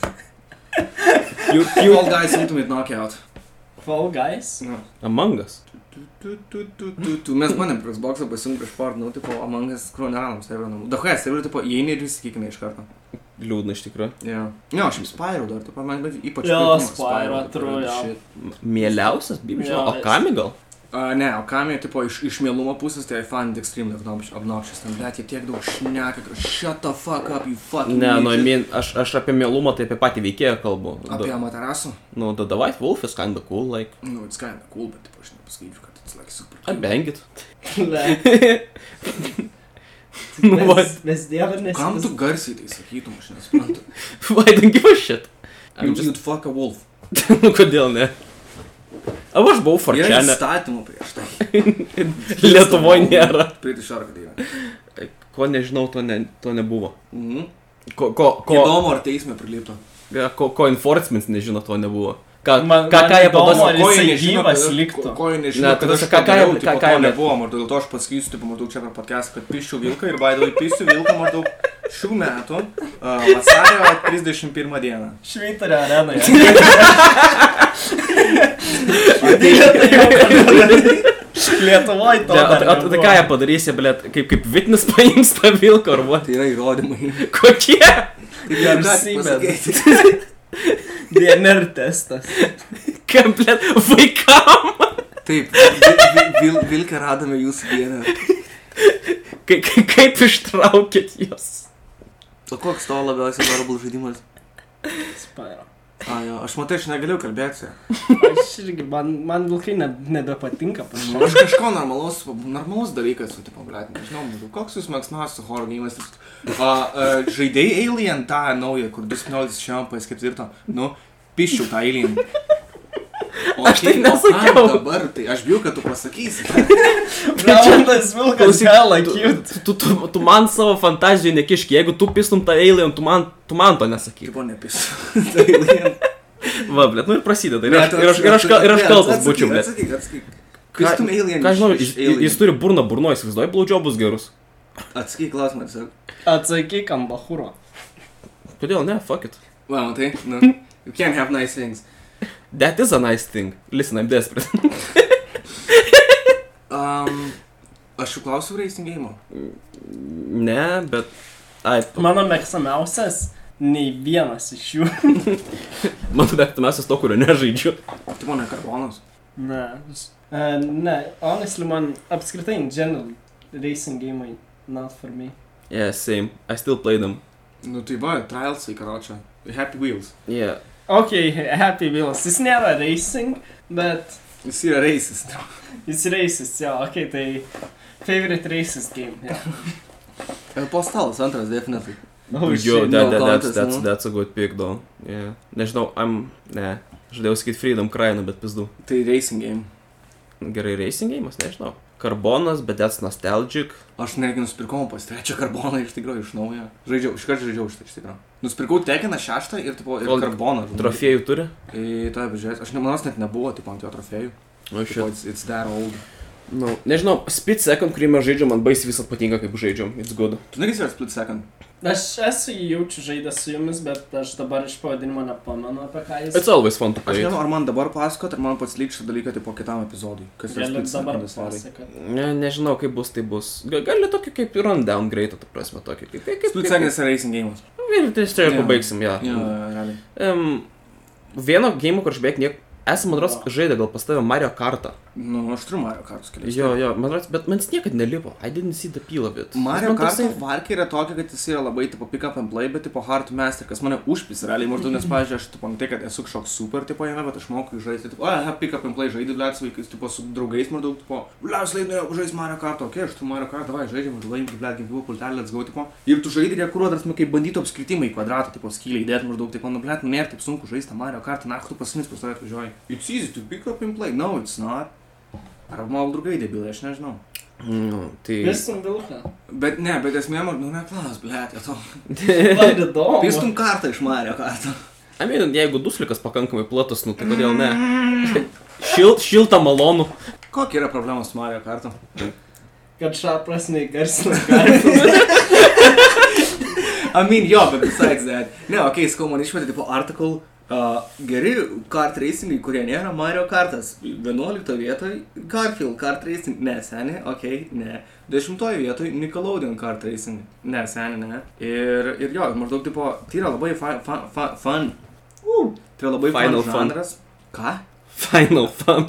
S1: You, you all guys ultimate knockout.
S2: Fall Guys.
S1: Nu.
S3: Amangas.
S1: Tu, tu, tu, tu, tu, tu. Mes manėm prieš boksą pasiimti prieš porą, nu, tipo, Among Us kronelams, tai yra namų. Dahai, tai yra, tipo, įeini ir visi kikina iš karto.
S3: Liūdna iš tikrųjų.
S1: Jo. Ne, aš jums Spyro dar, tipo, man bet ypač...
S2: Jo,
S1: pirmas
S2: Spyro,
S1: tipo,
S2: true,
S1: yra
S2: jo.
S1: shit.
S3: Mėliausias, bibiš.
S2: Jo,
S3: O
S2: jis-
S3: kami gal?
S1: A, ne, o kamė, tipo, iš, iš mielumo pusės, tai I find it extremely obnoxious, obnoxious. ten, blėt, jie tiek daug šneka, kad shut the fuck up, you fucking...
S3: Ne, nu, I
S1: idiot.
S3: mean, aš, aš apie mėlumą, tai apie patį veikėją kalbu.
S1: Apie
S3: Da-
S1: Amaterasu?
S3: Nu, the, the White Wolf is kinda cool, like.
S1: Nu, it's kinda cool, bet, tipo, aš nepasakyčiau, kad it's like super.
S3: I bang it.
S2: Ne.
S3: Nu, va.
S2: Mes, mes dievinės.
S1: Kam tu garsiai tai sakytum, aš <laughs> nesuprantu.
S3: <laughs> Why don't give a shit? I'm
S1: You
S3: just-
S1: just... fuck a wolf.
S3: <laughs> nu, kodėl ne? A aš buvau
S1: Yra
S3: Forčiane.
S1: įstatymų prieš tai.
S3: Lietuvoje nėra.
S1: Pritišark dainą.
S3: Ko nežinau, to, ne, to nebuvo.
S1: Mhm.
S3: Ko, ko, ko,
S1: Įdomu, ar teisme prilipto.
S3: ja, ko, ko enforcement nežino, to nebuvo. Ką,
S2: Man-
S3: ką,
S2: man
S3: ką jie
S2: įdomu,
S3: pados...
S2: ar jisai gyvas liktų?
S1: Ko jie
S3: Ne,
S1: nežino, kad
S3: tada
S1: aš
S3: ką-
S1: ką
S3: ką
S1: ką
S3: jie-
S1: jau
S3: ką-
S1: ką
S3: ką
S1: ką
S3: jie-
S1: nebuvo, maždaug dėl to aš pasakysiu, tai maždaug čia per podcast, kad piščiau vilką ir baidau įpisiu vilką maždaug šių metų, uh, vasario 31 dieną.
S2: Šveitario
S3: <laughs>
S2: arenoje. Lietuvoje to.
S3: Ne, o
S2: dar
S3: tai- o tai- tai
S2: nebuvo.
S3: ką jie padarys, jie, blėt, kaip, kaip Vitnis <laughs> paims tą vilką ar what?
S1: Tai yra įrodymai. <laughs>
S3: Kokie?
S1: Ir jie
S2: Garsybė.
S1: apsimeta.
S2: DNR testas.
S3: Kam, blėt, vaikam?
S1: Taip, vi- vi- vil, vilką radome jūsų dieną.
S3: Ka, ka, kaip ištraukėt jos?
S1: O koks to labiausiai svarbus žaidimas?
S2: Spyro.
S1: A, jo, aš matai, aš negaliu kalbėti.
S2: Aš irgi, man, man vilkai ne, nebepatinka, pažiūrėjau.
S1: Aš kažko normalaus, normalus dalykas, tu, tipo, blėt, nežinau, maždaug, koks jūs mėgstamiausias horror gėjimas. Žaidėjai Alien tą naują, kur 19 šiam pas ketvirtą, nu, piščiau tą Alien. O
S3: Aš tai
S1: kaip- o kam
S3: nesakiau.
S1: Dabar, tai aš bijau, kad tu pasakysi.
S2: Braunas vilkas
S3: Klausyk,
S2: gala
S3: tu-
S2: cute.
S3: Tu, tu, tu man savo fantazijų nekiški, jeigu tu pistum tą eilę, tu man, tu man to nesakyk.
S1: Tipo, nepisiu. Tai <laughs> Alien.
S3: Va, blėt, nu ir prasideda. Ir aš, ir aš, ir aš, ka- ir aš kaltas būčiau, blėt.
S1: Atsakyk, atsakyk.
S3: Ką-
S1: Kristum Alien.
S3: Ką
S1: iš-
S3: žinau,
S1: iš
S3: jis,
S1: Alien.
S3: jis turi burną burnoje, įsivaizduoji, blaudžio bus gerus.
S1: Atsakyk klausimą, tiesiog.
S2: Atsakyk ant bahūro.
S3: Kodėl ne, fuck it.
S1: Wow, tai, nu, you can't have nice things.
S3: That is a nice thing. Listen, I'm desperate.
S1: Um, aš jų klausiu racing game.
S3: ne, bet... Ai,
S2: Mano mėgstamiausias, nei vienas iš jų.
S3: mano mėgstamiausias to, kurio nežaidžiu.
S1: Tu mane karbonas.
S2: <laughs> Ne. Uh, ne, honestly, man apskritai, in general, racing game, not for me.
S3: Yeah, same. I still play them.
S1: Nu tai va, trialsai, karočią. Happy Wheels.
S3: Yeah.
S2: Ok, Happy Wheels. Jis nėra racing, bet
S1: Jis yra racist.
S2: jis racist, jo, ok, tai favorite racist game. jo.
S1: Postalas E, antras, definitely.
S2: Oh,
S3: Yo,
S2: shit,
S1: no
S3: that, that, that's,
S1: contest,
S3: that's,
S1: nu.
S3: that's a good pick, though. Yeah. Nežinau, I'm... Ne. Žadėjau sakyti Freedom Crying, bet pizdu.
S1: Tai racing game.
S3: Gerai, racing game'as, nežinau. Karbonas, bet that's nostalgic.
S1: Aš netgi nusipirkau pas trečią karboną iš tikrųjų iš naujo. Žaidžiau, iš karto žaidžiau šitą iš tikrųjų. Nusipirkau tekiną šeštą ir, tipo, ir
S3: Ol-
S1: karboną. žinai. Tai
S3: Trofėjų turi?
S1: Į tą bežiūrėjęs. Aš nemanos net nebuvo, tipo, ant jo trofėjų.
S3: Nu,
S1: Tipo, it's, it's that old.
S3: No. Nežinau, Speed Second, kurį mes žaidžiam, man baisiai visą patinka, kaip žaidžiam. It's good.
S1: Tu negi yra split second.
S2: Aš esu jį jaučiu žaidęs su jumis, bet aš dabar iš pavadinimo nepamenu apie ką jis.
S3: It's always fun to
S1: Aš
S3: play. it.
S1: nežinau, ar man dabar pasakot, ar man pats lyg šitą dalyką, tipo, kitam epizodui. Kas yra
S2: Galiu
S1: split
S2: dabar
S1: secondas, realiai.
S2: pasakoti.
S3: Ne, nežinau, kaip bus, tai bus. Ga- Gali tokį kaip ir rundown greitą, tu prasme, tokį kaip... kaip, kaip,
S1: Split
S3: kaip,
S1: secondas yra racing game.
S3: kaip ir tai čia ir
S1: Jo.
S3: pabaigsim, ja.
S1: Jo, realiai.
S3: Um, vieno game, kur aš beveik niek... Esam, man atrodo,
S2: Va.
S3: žaidę gal pas tave Mario Kartą.
S1: Nu, aš turiu Mario Kartus kelias.
S3: Jo, jo, man atrodo, bet man jis niekad nelipo. I didn't see the peel of it.
S1: Mario
S3: Man toksai-
S1: Kartų varkė yra tokia, kad jis yra labai tipo pick up and play, bet tipo hard master, kas mane užpis realiai maždaug,
S3: Mhm.
S1: nes, pavyzdžiui, aš tipo, ne tai, kad esu kažkoks super tipo jame, bet aš moku jį žaisti, tipo, aha, pick up and play žaidžiu, blėts vaikais, tipo, su draugais maždaug, tipo, blėts laidai, žais Mario Kartą, okei, okay, aš tu Mario Kartą, va, žaidžiam, laimim, blėts ginkluo, pultelį, let's go, tipo, ir tu žaidži, jie kuruo, tarsi, kaip bandytų apskritimą į kvadratą, tipo, skylį įdėti maždaug, tipo, nu, blėts, nėra taip sunku žaisti tą Mario Kartą, na, tu pasinis pas tave atvažiuoji. It's easy to pick up and play, no, it's not. Ar mano draugai debilai, aš nežinau.
S3: Nu, tai...
S2: Visum vilką.
S1: Bet ne, bet esmė, man, nu, neklaus, blėt, to.
S2: Man įdomu.
S1: Pistum kartą iš Mario kartą.
S3: I mean, jeigu duslikas pakankamai platus, nu tai kodėl ne? <laughs> Šil, šilta malonu.
S1: Kokia yra problema su Mario kartu?
S2: Kad šią prasme įgarsina kartu.
S1: I mean, jo, bet besides that. Ne, ok, skau, man išmetė tipo article. Uh, geri kart racingai, kurie nėra Mario kartas. 11 vietoj Garfield kart racing. Ne, seniai, ok, ne. 10 vietoj Nickelodeon kart racing. Ne, seniai, ne. Ir, ir jo, maždaug tipo, tai yra labai fa, fa, fa, fun. Uh, tai yra labai
S3: Final
S1: fun.
S3: fun.
S1: žanras. Ką?
S3: Final fun.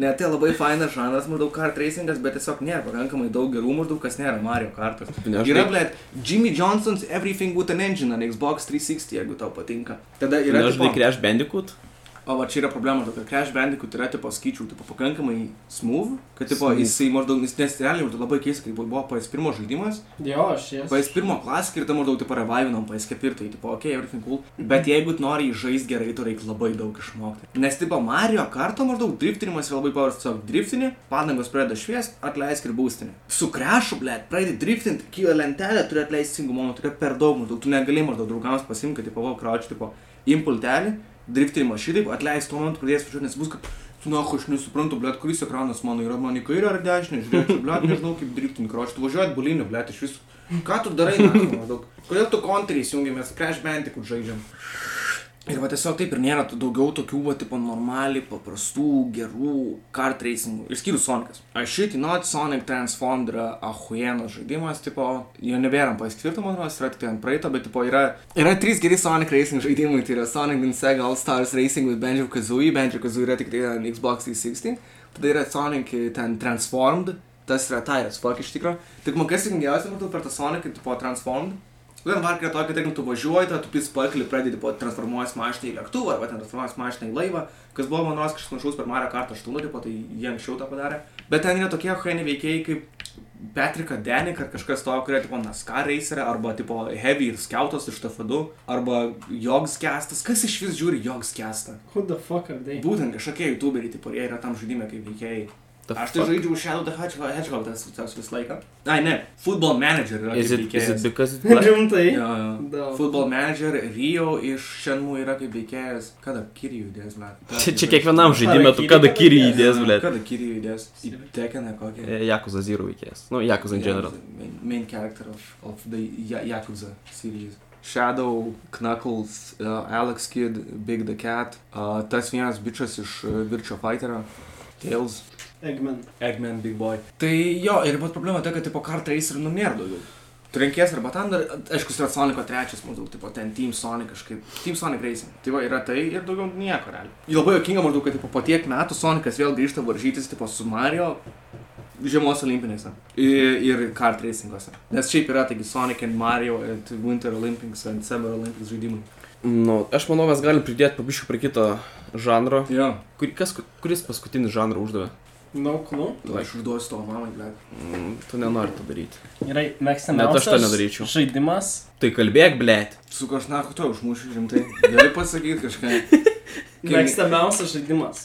S1: Ne, tai labai fainas žanras, maždaug kart racingas, bet tiesiog nėra pakankamai daug gerų, maždaug kas nėra Mario kartas.
S3: Ne, aš
S1: Yra,
S3: tai-
S1: blėt, Jimmy Johnson's Everything with an Engine ant Xbox 360, jeigu tau patinka. Tada yra...
S3: Yra žinai
S1: tipo-
S3: Crash Bandicoot?
S1: O va čia yra problema, tokia Crash Bandicoot yra tipo skaičių, tipo pakankamai smooth, kad tipo
S3: Smooth.
S1: smooth. jisai maždaug, jis nes realiai maždaug labai keista, kai buvo PS pirmo žaidimas,
S2: Jo, aš jas.
S1: PS1 klasika ir tam maždaug tipo revivinom PS4, tai, tipo, ok, everything cool. Bet jeigu tu nori žaisti gerai, tu reikia labai daug išmokti. Nes tipo Mario karto maždaug driftinimas yra labai paprastas, tiesiog driftinį, padangos pradeda šviesti, atleisk ir būstinį. Su krešu, bl ⁇ pradedi driftinti, kyla lentelė, turi atleisti singumoną, turi per daug maždaug, tu negali maždaug draugams pasimti, kad tipo, va, kraučiu, tipo, impultelį, driftinimą šitaip, atleisk tuo momentu, pradės važiuoti, nes bus kaip... Tu na, aš nesuprantu, blėt, kuris ekranas mano yra, man į kairę ar dešinę, žiūrėk, blėt, nežinau kaip driftinį krošį, tu važiuoji buliniu, blėt, iš viso. Ką tu darai, na, maždaug? Kodėl tu kontrį įsijungi, mes Crash Bandicoot žaidžiam? Ir va tiesiog taip ir nėra tų daugiau tokių, va, tipo, normaliai, paprastų, gerų kart racingų. Išskyrus Sonicas. Aš šitį Not Sonic Transformed yra ahujienas žaidimas, tipo, jo nebėra paskirtą, man atrodo, jis yra tik tai ant praeito, bet, tipo, yra, yra trys geri Sonic racing žaidimai. Tai yra Sonic and Sega All Stars Racing with Banjo Kazooie, Banjo Kazooie yra tik tai ant Xbox 360. Tada yra Sonic e, ten Transformed, tas yra Tyrus Fuck iš tikro. Tik man kas įkingiausia, matau, per tą Sonic, kai tu po Transformed. Vien varkė tokia, kad jeigu tu važiuoji, tada tu pis pakli pradedi po transformuojas mašiną į lėktuvą arba ten transformuojas mašiną į laivą, kas buvo mano kažkas panašaus per Mario Kart 8, tipo, tai jie anksčiau tą padarė. Bet ten yra tokie hojeni veikėjai kaip Patrika Denik ar kažkas to, kurie tipo NASCAR racerė arba tipo Heavy ir Skiautas iš TF2 arba Jogs Kestas. Kas iš vis žiūri Jogs Kestą?
S2: Who the fuck are they?
S1: Būtent kažkokie youtuberiai, tipo, jie yra tam žaidime kaip veikėjai.
S3: The
S1: Aš tai
S3: fuck?
S1: žaidžiu Shadow the Hedgehog, Hedgehog tas, tas visą laiką. Ai, ne, Football Manager yra
S3: Is
S1: kaip
S3: it, is
S1: veikėjas.
S3: it because it's
S2: <laughs>
S3: black?
S2: Rimtai.
S1: Jo, jo.
S2: Da.
S1: Football Manager Rio iš Šenmų yra kaip veikėjas. Kada Kiriju įdės, man?
S3: Čia, čia kiekvienam žaidimė tu
S2: Harakiri
S3: kada kiri
S2: kada
S3: įdės, blėt.
S1: Kada Kiriju įdės? Į Tekeną kokią?
S3: Jakuza Zero veikėjas. Nu, Jakuza in general.
S1: Main, main character of, of the Ya- Yakuza series. Shadow, Knuckles, uh, Alex Kid, Big the Cat, uh, tas vienas bičias iš uh, Virčio Fighterio, Tails.
S2: Eggman.
S1: Eggman, Big Boy. Tai jo, ir pat problema ta, kad tipo kartais ir nu nėra daugiau. Trenkies arba ten dar, aišku, yra Sonico trečias, maždaug, tipo ten Team Sonic kažkaip. Team Sonic Racing. Tai va, yra tai ir daugiau nieko, realiai. Ir Labai jokinga, maždaug, kad tipo, po tiek metų Sonicas vėl grįžta varžytis, tipo, su Mario žiemos olimpinėse ir, ir kart racinguose. Nes šiaip yra, taigi, Sonic and Mario and Winter Olympics and Summer Olympics žaidimai.
S3: Nu, aš manau, mes galim pridėti pabiškiu prie kito žanro.
S1: Jo,
S3: Kur, kas, kuris paskutinis žanrą uždavė?
S2: No clue.
S1: aš užduosiu to mamai, bet.
S3: Mm, tu nenori to daryti.
S2: Gerai,
S3: Net
S2: mėgstamiausias.
S3: aš to nedaryčiau.
S2: Žaidimas.
S3: Tai kalbėk, blėt.
S1: Su kažnaku to užmušiu rimtai. Gali pasakyti kažką. Kai-
S2: Mėgstamiausias žaidimas.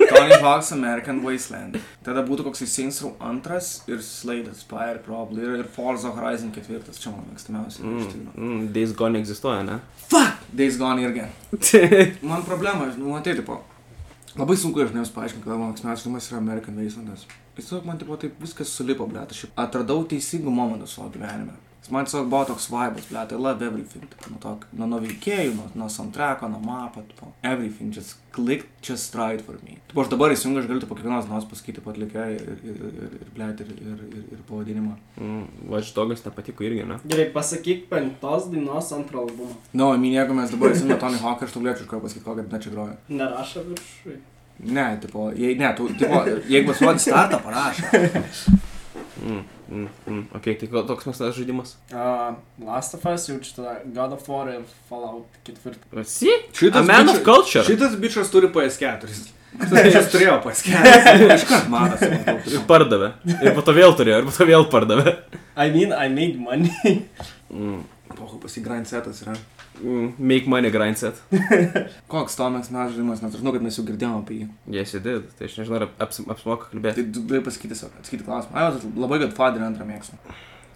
S1: Tony Hawk's American Wasteland. Tada būtų koks Saints Row 2 ir Slade Spire Problem ir, ir Forza Horizon 4. Čia mano mėgstamiausias.
S3: Mm,
S1: Mm.
S3: mm, Days Gone egzistuoja, ne?
S1: Fuck! Days Gone irgi. Man problema, žinau, matai, tipo, labai sunku ir žmonėms paaiškinti, kodėl mano mėgstamiausias filmas yra American Wastelandas. Jis tiesiog man tipo taip viskas sulipo, blėt, aš atradau teisingų momentų savo gyvenime. Jis man tiesiog buvo toks vibas, blėt, I love everything. tipo, Nuo, to, nuo, nuo veikėjų, nuo, nuo soundtracko, nuo mapo, tipo, everything, just click, just try it for me. Tipo, aš dabar įsijungiu, aš galiu tipo kiekvienos dienos pasakyti, pat likę ir, ir, ir, ir blėt, ir, ir, ir, ir pavadinimą.
S3: Mm, Važdogas nepatiko irgi, ne?
S2: Gerai, pasakyk penktos dainos antro albumą.
S1: Na, no, Nu, I mean, jeigu mes dabar įsijungiame Tony Hawk, aš tau blėt, iš karto pasakyti, kokią daną čia groju.
S2: Nerašo viršui.
S1: Ne, tipo, jei, ne, tu, tipo, jeigu pasuodi startą, parašo.
S3: Mm, mm, mm. Ok, tai ko- toks mes tas žaidimas.
S2: Uh, Last of Us, jaučiu tada God of War ir Fallout ketvirtą.
S3: Si? A man of
S1: bičas-
S3: culture.
S1: Šitas bičias turi PS4. Jis turėjo PS4. <laughs> Iškart matosi.
S3: Ir
S1: maždaug.
S3: pardavė. Ir po to vėl turėjo, ir po to vėl pardavė.
S2: I mean, I made money.
S3: Mm.
S1: Pohu, pasigrind setas yra.
S3: Mm, Make money grindset.
S1: Koks Tomas mes žaidimas, nes aš žinau, kad mes jau girdėjome apie jį.
S3: Yes, you did. Tai aš nežinau, ar aps, apsimoka kalbėti.
S1: Tai tu gali pasakyti savo, atsakyti klausimą. Ai, aš labai Godfather antrą mėgstu.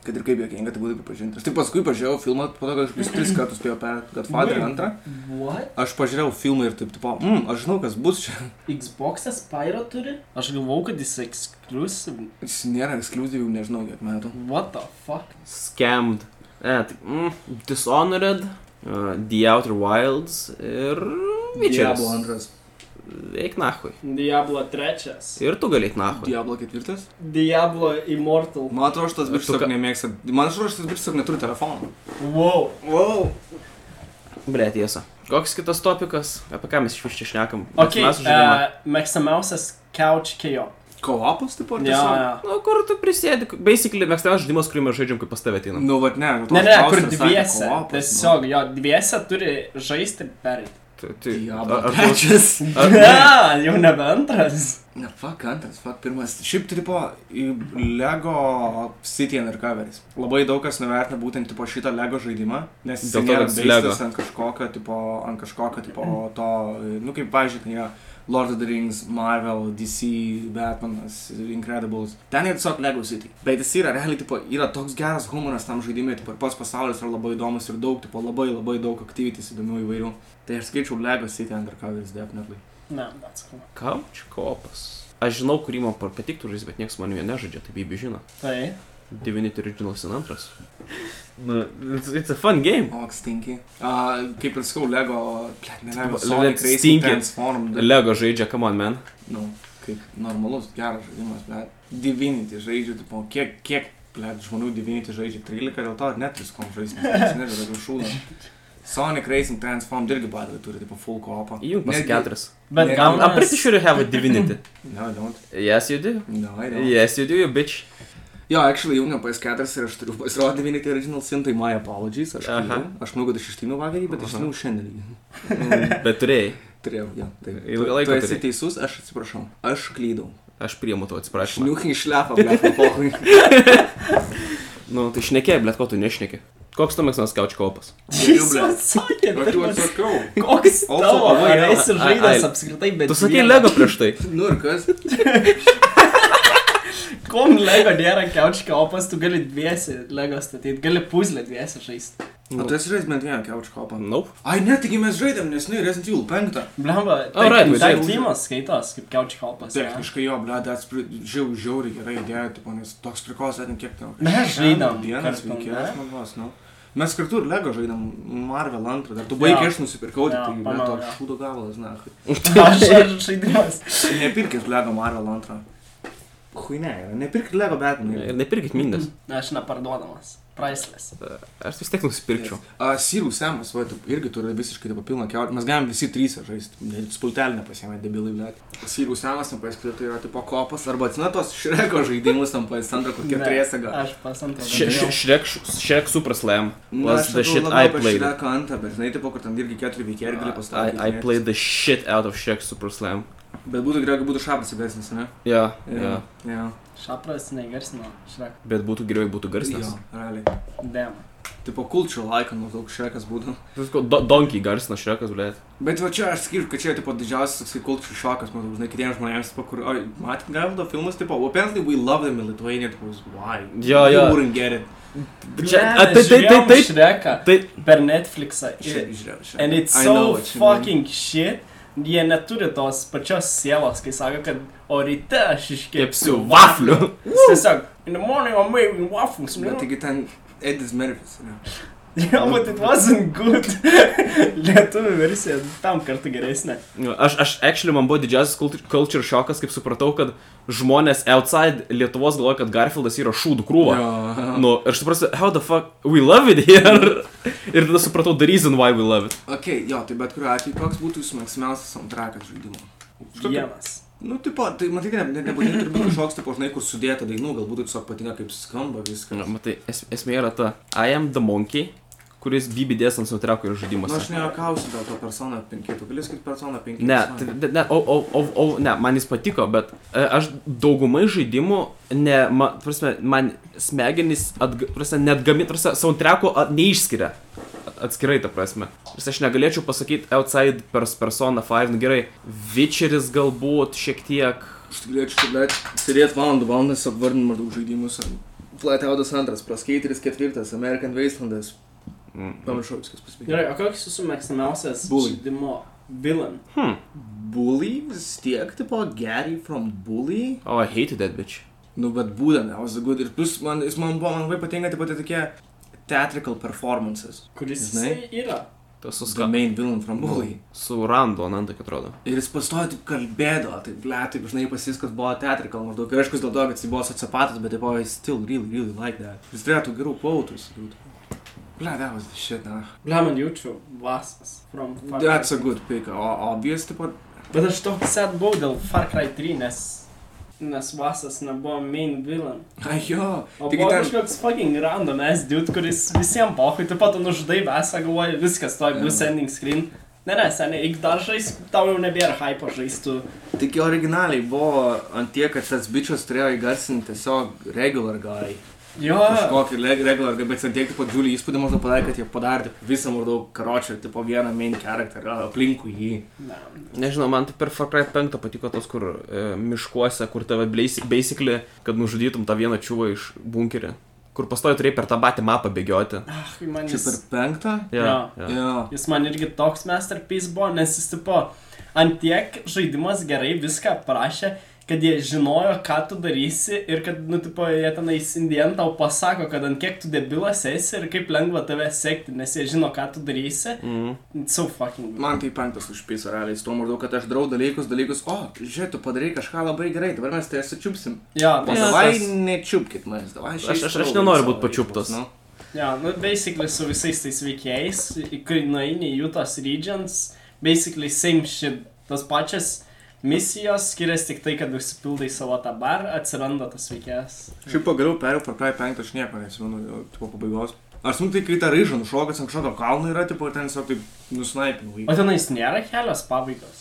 S1: Kad ir kaip jokinga, tai būtų pripažinti. Aš tik paskui pažiūrėjau filmą, po to, kad aš vis tris kartus spėjau per Godfather antrą.
S2: <laughs> What?
S1: Aš pažiūrėjau filmą ir taip, tipo, mm, aš žinau, kas bus čia.
S2: Xbox'as Pyro turi? Aš galvau, kad jis exclusive.
S1: Jis nėra ekskluzyvių, nežinau, kiek metų.
S2: What the fuck?
S3: Scammed. E, tai, mm, Dishonored, uh, The Outer Wilds ir Witcheris.
S1: Diablo antras.
S3: Eik nahui.
S2: Diablo 3.
S3: Ir tu galėk nahui.
S1: Diablo ketvirtas.
S2: Diablo Immortal.
S1: Man atrodo, šitas
S3: Ar
S1: bičias
S3: tu
S1: tiesiog
S3: ką-
S1: nemėgsta. Man atrodo, šitas bičias tiesiog neturi telefono.
S2: Wow.
S1: Wow.
S3: Bre, tiesa. Koks kitas topikas, apie ką mes iš vis čia šnekam? Mes-
S2: Ok,
S3: mes žaidimą.
S2: uh, mėgstamiausias Couch KO.
S1: Kovapas taip pat.
S2: Ne, ne.
S3: Nu, kur tu prisėdi? Basically, mėgstamiausias žaidimas, kurį mes žaidžiam, kaip pas tave ateina.
S1: Nu, vad ne, nu, toks
S2: Ne, ne,
S1: klausimas
S2: kur
S1: sakė,
S2: dviese.
S1: co-opas, nu.
S2: Tiesiog jo, dviese turi žaisti ir perėti.
S3: Tai, tai,
S1: Diablo
S3: ar- ar tu-
S1: trečias.
S2: <laughs> Ne, jau nebe antras.
S1: Ne, fuck antras, fuck pirmas. Šiaip tipo į Lego City Undercoveris. Labai daug kas nuvertina būtent tipo šitą Lego žaidimą, nes jis
S3: Dėl to,
S1: nėra
S3: kad jis
S1: beistas
S3: Lego.
S1: ant kažkokio tipo, ant kažkokio tipo to, nu kaip pažiūrėk, ten yra Lord of the Rings, Marvel, DC, Batmanas, Incredibles. Ten yra tiesiog Lego City. Bet jis yra realiai, tipo, yra toks geras humoras tam žaidimui, tipo, ir pats pasaulis yra labai įdomus ir daug, tipo, labai labai daug aktyvitys įdomių įvairių. Tai aš skaičiau Lego City Undercoveris, definitely.
S2: Ne, atsakau.
S3: Couch kopas. Aš žinau, kurį man par- patiktų žaisti, bet niekas man jo nežaidžia, tai bibi žino.
S2: Tai.
S3: Divinity Original Sin 2. Nu, it's, it's a fun game.
S1: O, stinki. Uh, kaip ir sakau, Lego, blėt, ne Lego,
S3: Tipo,
S1: Sonic
S3: Lego
S1: Racing
S3: stinki.
S1: Transform. da-
S3: Lego žaidžia, come on, man.
S1: Nu, kaip normalus, geras žaidimas, blėt. Divinity žaidžiu, tipo, kiek, kiek, blėt, žmonių nu Divinity žaidžia 13, dėl to ir net 3 kom žaisti, nežinau, daugiau šūdą. Sonic Racing Transform irgi badai turi, tipo, full kopą.
S3: Įjung pas keturis.
S1: Ne,
S2: Bet
S3: I'm, I'm pretty
S2: gaunas. <laughs>
S3: sure you have a divinity.
S1: No, I don't.
S3: <laughs> Yes, you do.
S1: No, I don't.
S3: Yes, you do, you bitch.
S1: Jo, actually, jau ne PS4 ir aš turiu pasirodyti Divinity Original Sin, tai my apologies, aš
S3: Aha.
S1: klyau. Aš manau, kad aš ištinu vakarį, bet
S3: Aha.
S1: ištinu šiandien.
S3: Bet turėjai.
S1: Turėjau, jo. Taip.
S3: Ilgą
S1: Tu-
S3: laiką
S1: Tu esi
S3: turėjai.
S1: teisus, aš atsiprašau. Aš klydau.
S3: Aš priimu to atsiprašymą.
S1: Šniukai išlepa, blepa, pohui.
S2: <laughs>
S3: Nu, tai šnekėjai, bet ko tu nešneki. Koks tu mėgstamas couch kopas?
S2: Jis atsakė. pirmas.
S1: atsakau.
S2: tai <laughs> Koks
S1: Also,
S2: tavo?
S1: pavojau.
S2: Ar esi
S3: Ai,
S2: žaidęs
S3: ai.
S2: apskritai, bet...
S3: Tu sakei
S2: vieną?
S3: Lego prieš tai.
S1: Nu ir kas?
S2: Kom Lego nėra keučka, o pas tu gali dviesi Lego statyti, gali puzlę dviesi žaisti.
S3: Nu.
S1: O tu esi žaidęs bent vieną couch copą.
S3: <laughs> Nope.
S1: Ai, netgi mes žaidėm, nes nu, Resident Evil 5.
S2: Blemba,
S3: Alright, we
S2: tai
S3: did.
S2: tymas skaitos kaip keučka, o pas.
S1: Techniškai jo, blė, tas žiauriai, žiauriai gerai idėja, tipo, nes toks prikos, atink kiek ten.
S2: Mes žaidėm
S1: Vienas,
S2: kartu,
S1: vienas,
S2: ne?
S1: man vos, nu. Mes kartu ir Lego žaidėm Marvel 2, dar tu
S2: Jo.
S1: baigi, aš nusipirkau,
S2: Jo,
S1: tai blė,
S2: pamenu,
S1: toks
S2: jo.
S1: šūdo gabalas, na.
S2: <laughs> Aš ir žaidimas.
S1: Nepirkit Lego Marvel 2. Huinė, nepirkit Lego Batman.
S3: Ir nepirkit mindės.
S2: Aš neparduodamas. Priceless.
S3: Aš vis tiek nusipirkčiau.
S1: A, Sirų Semas, va, tu irgi turi visiškai taip pilną keurį. Mes galim visi trys žaisti. Net spultelį nepasėmė, debilai, bet. Sirų Semas, tam paaiškinti, tai yra tipo kopas arba atsinatos šreko žaidimus, tam paaiškinti, kokie
S2: Ne,
S1: triesaga.
S2: Aš pasantau.
S3: Š- š- Shrek, Shrek Super Slam. Was the shit I
S1: Nu, labiau apie
S3: played.
S1: šreką antrą, bet žinai, tipo, kur ten irgi keturi veikiai ir gali
S3: I,
S1: pastatyti.
S3: I played the shit out of Shrek Super Slam.
S1: Bet būtų geriau, jeigu būtų šabas įvesnis, ne?
S3: Ja, ja.
S1: Jo.
S2: Šapras negarsino. Šrek.
S3: Bet būtų geriau, jei būtų
S1: Jo,
S3: garsnas.
S1: realiai.
S2: Dem.
S1: Tipo, kulčių laiką, maždaug šrekas būtų.
S3: Visko, do, donkey garsina Shrekas, blėt.
S1: Bet va čia aš skiriu, kad čia tipo didžiausias toksai kultūrų šokas, man žinai, kitiems žmonėms, tipo, kur, oi, matyt, Gavilo filmas, tipo, apparently we love them in Lithuania, it was why.
S3: Jo, jo.
S1: You wouldn't get it.
S3: Čia, a, tai, tai, tai, tai,
S2: Šreką.
S3: tai,
S2: Per Netflixą.
S1: Shit, žiūrėjau, shit.
S2: And it's
S1: I
S2: so
S1: know what you mean.
S2: fucking shit. Jie neturi tos pačios sielos, kai sako, kad o ryte aš iškepsiu
S3: kepsiu vaflių.
S2: Jis Tiesiog, in the morning I'm making waffles.
S1: Bet
S2: Man.
S1: taigi ten Edis Mervis, ne?
S2: <laughs> Yeah, but it wasn't <laughs> good. Lietuvių versija tam kartu geresnė.
S3: Aš, aš, actually, man buvo didžiausias cultu- culture šokas, kaip supratau, kad žmonės outside Lietuvos galvoja, kad Garfieldas yra šūdų krūva.
S1: Jo.
S3: Nu, ir aš suprantu, how the fuck we love it here. <laughs> Ir tada supratau the reason why we love it.
S1: Ok, jo, tai bet kuriuo atveju, koks būtų jūsų mėgstamiausias soundtrackas žaidimo? Kažkokio-
S2: Vienas.
S1: Nu, tipo, tai matai, kad ne- nebūtinai turi būti kažkoks, tipo, žinai, kur sudėta dainų, galbūt tai tiesiog patinka, kaip skamba
S3: Na,
S1: viskas.
S3: Matai, es, esmė yra ta, I am the monkey, kuris BBDS ant soundtrack'o yra žaidimas.
S1: Na, Nu, aš nejokausiu dėl to persona 5, tu gali sakyti persona 5.
S3: Ne, tai- tai- ne, o, o, o, o, ne, man jis patiko, bet e, aš daugumai žaidimų, ne, ma, ta prasme, man smegenys, atga, ta prasme, net gamintas, soundtrackų a- neišskiria. A- Atskirai, ta prasme. Prasme, Aš negalėčiau pasakyti outside pers persona 5, nu gerai, Witcheris galbūt šiek tiek.
S1: Aš tik galėčiau, bet sėdėti valandų valandas apvardinti maždaug žaidimus. Flatoutas antras, Praskateris ketvirtas, American Wastelandas.
S3: mm,
S1: Pamiršau viskas pasipikti.
S2: Gerai, o koks jūsų mėgstamiausias
S1: Bully.
S2: žaidimo villain?
S1: Bully vis tiek, tipo Gary from Bully.
S3: O, oh, I hate that bitch.
S1: Nu, bet būtent, I was a good. Ir plus, man, jis man buvo, man labai patinka, tipo, tie tokie theatrical performances.
S2: Kuris
S1: Žinai?
S2: jisai yra?
S3: Tas su
S1: The
S3: skam.
S1: main villain from Bully.
S3: Su Rando, Nando, kaip atrodo.
S1: Ir jis pastojo taip kalbėdavo, taip, ble, taip, žinai, pas jis, kad buvo teatrikal maždaug. Ir aišku, jis dėl to, kad jis buvo sociopatas, bet, tipo, jis still really, really like that. Jis turėtų gerų pautus. Ble, that was the shit, na.
S2: Lemon jaučiu, vasas. From Far Cry.
S1: That's a good pick. O obvious, tipo, <laughs>
S2: Bet aš toks set buvau dėl Far Cry 3, nes, nes vasas nebuvo main villain.
S1: ai jo,
S2: O
S1: Taigi
S2: buvo
S1: ten-
S2: kažkoks fucking random ass dude, kuris visiems pohui, taip pat nužudai vasą, galvoji, viskas toj bus
S1: Jo.
S2: ending screen. Ne, ne, seniai, jeigu dar žais, tau jau nebėra hypo žaistų.
S1: Tik jo originaliai buvo ant tiek, kad tas bičias turėjo įgarsinti tiesiog regular guy.
S2: Jo,
S1: Kažkokį le- regular guy, bet ant tiek po džiulį įspūdį maždaug padarė, kad jie padarė tipo visą maždaug karočią, tipo vieną main character aplinkui jį.
S2: Na,
S3: Nežinau, man tai per Far Cry 5 patiko tos, kur e, miškuose, kur tave bleis- basically, kad nužudytum tą vieną čiūvą iš bunkerio, kur pastoju turėjai per tą patį mapą bėgioti.
S2: ach, man
S1: Čia
S2: jis,
S1: per penktą?
S3: Jo,
S1: Jo.
S3: jo.
S1: Yeah.
S2: jis man irgi toks masterpiece buvo, nes jis tipo, ant tiek žaidimas gerai viską aprašė, kad jie žinojo, ką tu darysi ir kad, nu, tipo, jie tenais indien tau pasako, kad ant kiek tu debilas esi ir kaip lengva tave sekti, nes jie žino, ką tu darysi.
S3: Mhm.
S2: It's so fucking good.
S1: Man tai penktas užpisa realiai, su to maždaug, kad aš darau dalykus, dalykus, o, žiūrėk, tu padarai kažką labai gerai, dabar mes tai sučiupsim.
S2: Jo,
S1: O
S2: tas-
S1: davai
S3: tas-
S1: nečiupkit manęs, davai aš.
S3: Aš- aš- aš
S1: ištrauksiu
S3: nenoriu
S1: savo
S3: būt pačiuptas.
S1: reikalus, nu.
S2: Jo, nu, basically su visais tais veikėjais, į- kai nueini į Utah's regions, basically same shit, tas pačias misijos skiriasi tik tai, kad užsipildai savo tą bar, atsiranda tas veikėjas.
S1: Šiaip pagaliau perėjau Far Cry 5, aš nieko nesimenu, jau, tipo pabaigos. Ar sunku tai, kai ta ryža nušokas ant kažkokio kalno yra, tipo ir ten tiesiog taip nusnaipinau.
S2: O tenais nėra kelios pabaigos.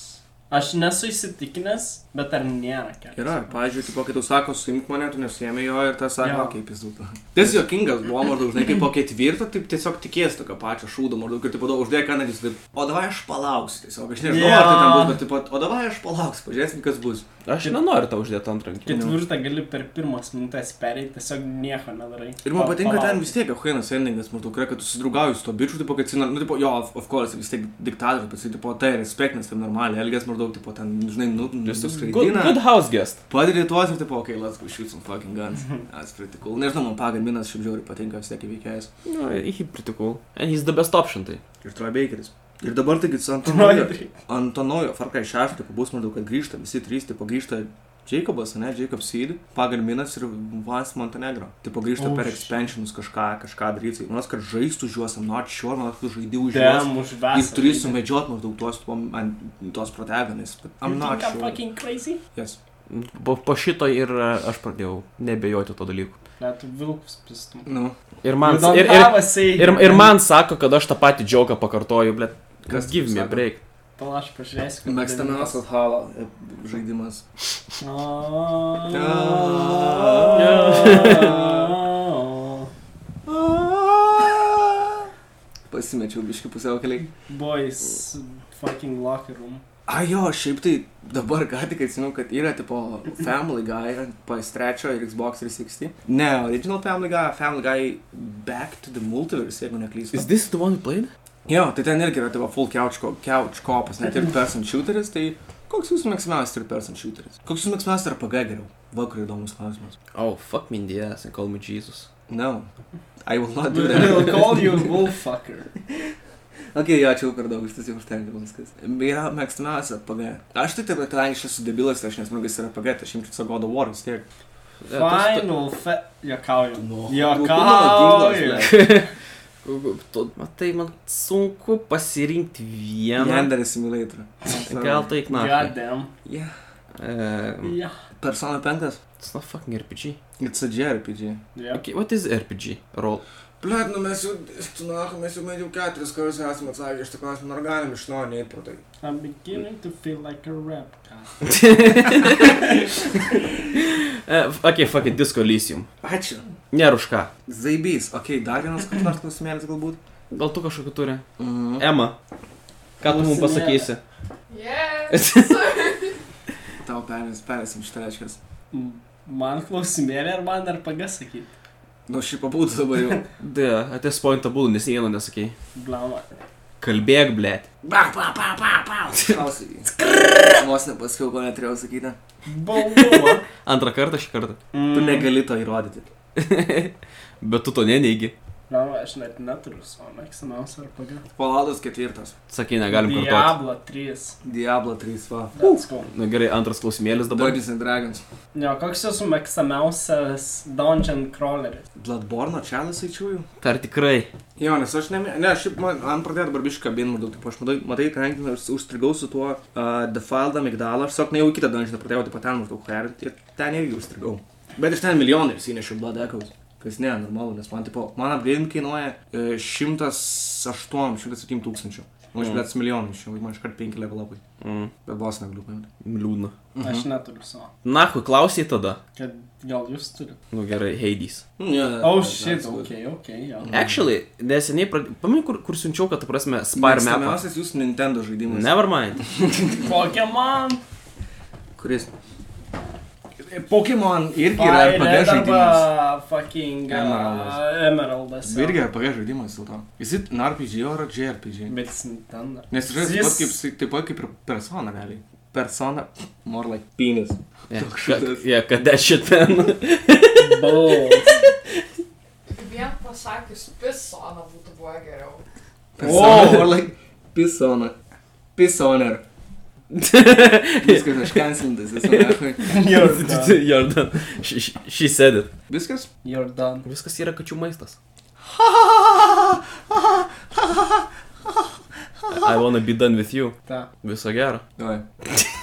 S2: Aš nesu įsitikinęs, bet ar nėra kelios?
S1: Yra, pavyzdžiui, tipo, kai tu sako, suimk mane, tu nesuėmė jo ir tas sako,
S2: Jo.
S1: ja. kaip jis dūta. Tas juokingas buvo, maždaug, žinai, kaip po ketvirto, taip tiesiog tikės tokio pačio šūdo, maždaug, ir tipo, daug uždėk kanalys, taip, o davai aš palauksiu, tiesiog, aš nežinau, ja. ar tai ten bus, bet tipo, o davai aš palauksiu, pažiūrėsim, kas bus.
S3: Aš nenoriu tau uždėti ant rankų.
S2: Ketvirtą gali per pirmas minutės pereiti, tiesiog nieko nedarai.
S1: Ir man
S2: Pa-
S1: patinka ten
S2: palauki. <laughs>
S1: vis tiek, Euhenas Endingas, maždaug, yra, kad tu susidraugauji su to bičiu, tipo, kad, jis, nu, tipo, jo, of, of course, vis tiek diktatorius, bet, jis, tipo, tai respektinis, tai normaliai, elgės maždaug, tipo, ten, žinai, nu,
S3: Good,
S1: nuskraidina.
S3: good house guest.
S1: Padarė tuos ir taip, okei, okay, let's go shoot some fucking guns. That's pretty cool. Nežinau, man pagaminas šiaip žiauriai patinka vis tiek įveikėjas.
S3: No, Nu, he pretty cool. And he's the best option tai.
S1: Ir Troy Bakeris. Ir dabar taigi su
S2: Troy
S1: Antonojo. Antonojo, Far Cry 6, tai bus maždaug, kad grįžta visi trys, tai grįžta Jacobas, ne, Jacob Seed, Pagalminas ir Vas Montenegro. Tai grįžta
S2: Oh,
S1: oh, per
S2: shit.
S1: expansionus kažką, kažką daryti. Manas, kad žaistų už juos, I'm not sure, man tu žaidėjai už juos.
S2: Damn,
S1: Ir
S2: užvestas.
S1: turi sumedžiot maždaug tuos, tuo- ant tos protagonis. But I'm not
S2: I'm
S1: sure.
S2: fucking crazy.
S1: Yes.
S3: Po, po šito ir e, aš pradėjau nebejoti to dalyku.
S2: Net vilkus pistum.
S1: Nu,
S3: Ir man,
S2: You don't
S3: ir, ir,
S2: have a say.
S3: ir, ir man sako, kad aš tą patį džioką pakartoju, blėt.
S1: Kas
S3: Kas give me a
S1: sako?
S3: break.
S2: Pala, aš pažiūrėsiu. kad
S1: mėgstamiausias Halo e, žaidimas.
S2: Oh.
S1: <laughs>
S2: Boys.
S3: Ah!
S1: Pasimečiau biški pusiau keliai.
S2: Fucking locker room.
S1: A jo, šiaip tai dabar ką tik atsimenu, kad yra tipo Family Guy ant PS3 ir Xbox 360. Ne, original Family Guy, Family Guy Back to the Multiverse, jeigu neklystu.
S3: this the one you played?
S1: Jo, tai ten irgi yra tipo full couch, co- couch copas, net ir person shooteris, tai koks jūsų mėgstamiausias ir person shooteris? Koks jūsų mėgstamiausias yra PG geriau? Vakar įdomus klausimas.
S3: Oh, fuck me in the ass and call me Jesus.
S1: No. I will not do that.
S2: We'll call you Wolfucker.
S1: Ok, jo, ačiū per daug, šitas jau užtenka viskas. Yra mėgstamiausia PG. Aš tai taip, kadangi aš esu debilas, aš nesmagu, jis yra PG, tai aš imčiau savo God of War vis tiek.
S2: Final fe... Jokauju.
S1: Nu, nu,
S2: Jokauju.
S1: ginklas, <laughs>
S3: Matai, tai man sunku pasirinkti vieną.
S1: Jender Simulator.
S3: Gal tai knap.
S2: Goddamn.
S1: Yeah.
S3: It's
S2: Yeah.
S1: Persona 5.
S3: not fucking RPG.
S1: It's a JRPG.
S2: Yeah.
S3: Okay, what is RPG? Roll.
S1: Blet, nu mes jau, tu na, mes jau bent jau keturis kartus esame atsakę iš to klausimą, ar galim iš naujo neįti pro tai.
S2: I'm beginning to feel like a rap guy.
S3: Uh, ok, fucking Disco Elysium.
S1: Ačiū.
S3: Nėra už ką.
S1: Zaibys, ok, dar vienas koks nors klausimėlis galbūt.
S3: Gal tu kažkokį turi?
S1: Mhm.
S3: Ema, ką tu mums pasakysi?
S4: Yes.
S1: Tau perės, perėsim šitą reiškęs.
S2: M- Man klausimėlė ar man dar pagasakyti?
S1: Nu, šiaip pabūtų dabar <laughs> jau.
S3: De, atės point abu, nes nei vieno nesakei.
S2: Blama.
S3: Kalbėk, blėt.
S1: Bak, pa, pa, pa, pa. Klausiai. Vos nepasakiau, ko neturėjau sakyti.
S2: Balbuo.
S3: Antrą kartą šį kartą. <laughs>
S1: Tu negali to įrodyti.
S3: Bet tu to neneigi.
S2: Blama, aš net neturiu savo mėgstamiausio ar pagasakyti.
S1: Paladas ketvirtas.
S3: Sakai, negalim kartuoti.
S2: Diablo 3.
S1: Diablo 3, va.
S2: Let's go.
S3: Na gerai, antras klausimėlis dabar.
S1: Dungeons and Dragons.
S2: Ne, koks jūsų mėgstamiausias dungeon crawleris?
S1: Bloodborne Chalice aičiųjų.
S3: Ar tikrai?
S1: Jo, nes aš nemė... Ne, šiaip man, man pradėjo dabar biškai kabinti maždaug, taip aš matai, matai kadangi aš užstrigau su tuo uh, The Falda Migdalą, aš tiesiog nejau į kitą dungeoną pradėjau, tai paten maždaug her ir ten irgi užstrigau. Bet iš ten milijonai įsinešiau Blood Echoes. Kas ne, normalu, nes man, tipo, man upgrade kainuoja e, 108, 107 tūkstančių. Už bet milijonų iš jų, man iškart 5 level upai.
S3: Mm,
S1: Bet vos negaliu paimti.
S3: liūdna.
S2: Aš neturiu savo.
S3: Nahui, klausiai tada.
S2: Kad gal jūs turite.
S3: Nu gerai, Heidys.
S2: Oh shit, ok, ok, jo.
S1: Mm.
S3: Actually, neseniai, prad... pamink, kur, kur siunčiau, kad, ta prasme, Spire map.
S1: Pirmiausias jūsų Nintendo žaidimas. <laughs>
S3: Nevermind.
S2: Pokemon.
S1: Kuris. Pokemon irgi yra
S2: Violet
S1: RPG žaidimas.
S2: arba Fucking uh,
S1: Emeraldas.
S2: Emeraldas. jo.
S1: Irgi RPG žaidimas dėl to. Jis ir RPG ar JRPG.
S2: Bet jis ten dar.
S1: Nes jis žaidžias taip, kaip- taip pat kaip ir persona realiai. Persona, more like penis. Toks šitas.
S3: Jie, kad dešiten.
S1: <laughs>
S3: <laughs>
S2: kaip balls.
S4: Vien pasakius, pisona būtų buvę geriau.
S1: Persona,
S2: Wow.
S1: more like pisona. Pisoner. Viskas iškensintas, jis
S2: <laughs>
S1: yra.
S2: You're done.
S3: Jordan. Šį sėdit.
S1: Viskas?
S2: You're done.
S3: Viskas yra kačių maistas. I wanna be done with you.
S2: Ta.
S3: Viso gero.
S1: Davai.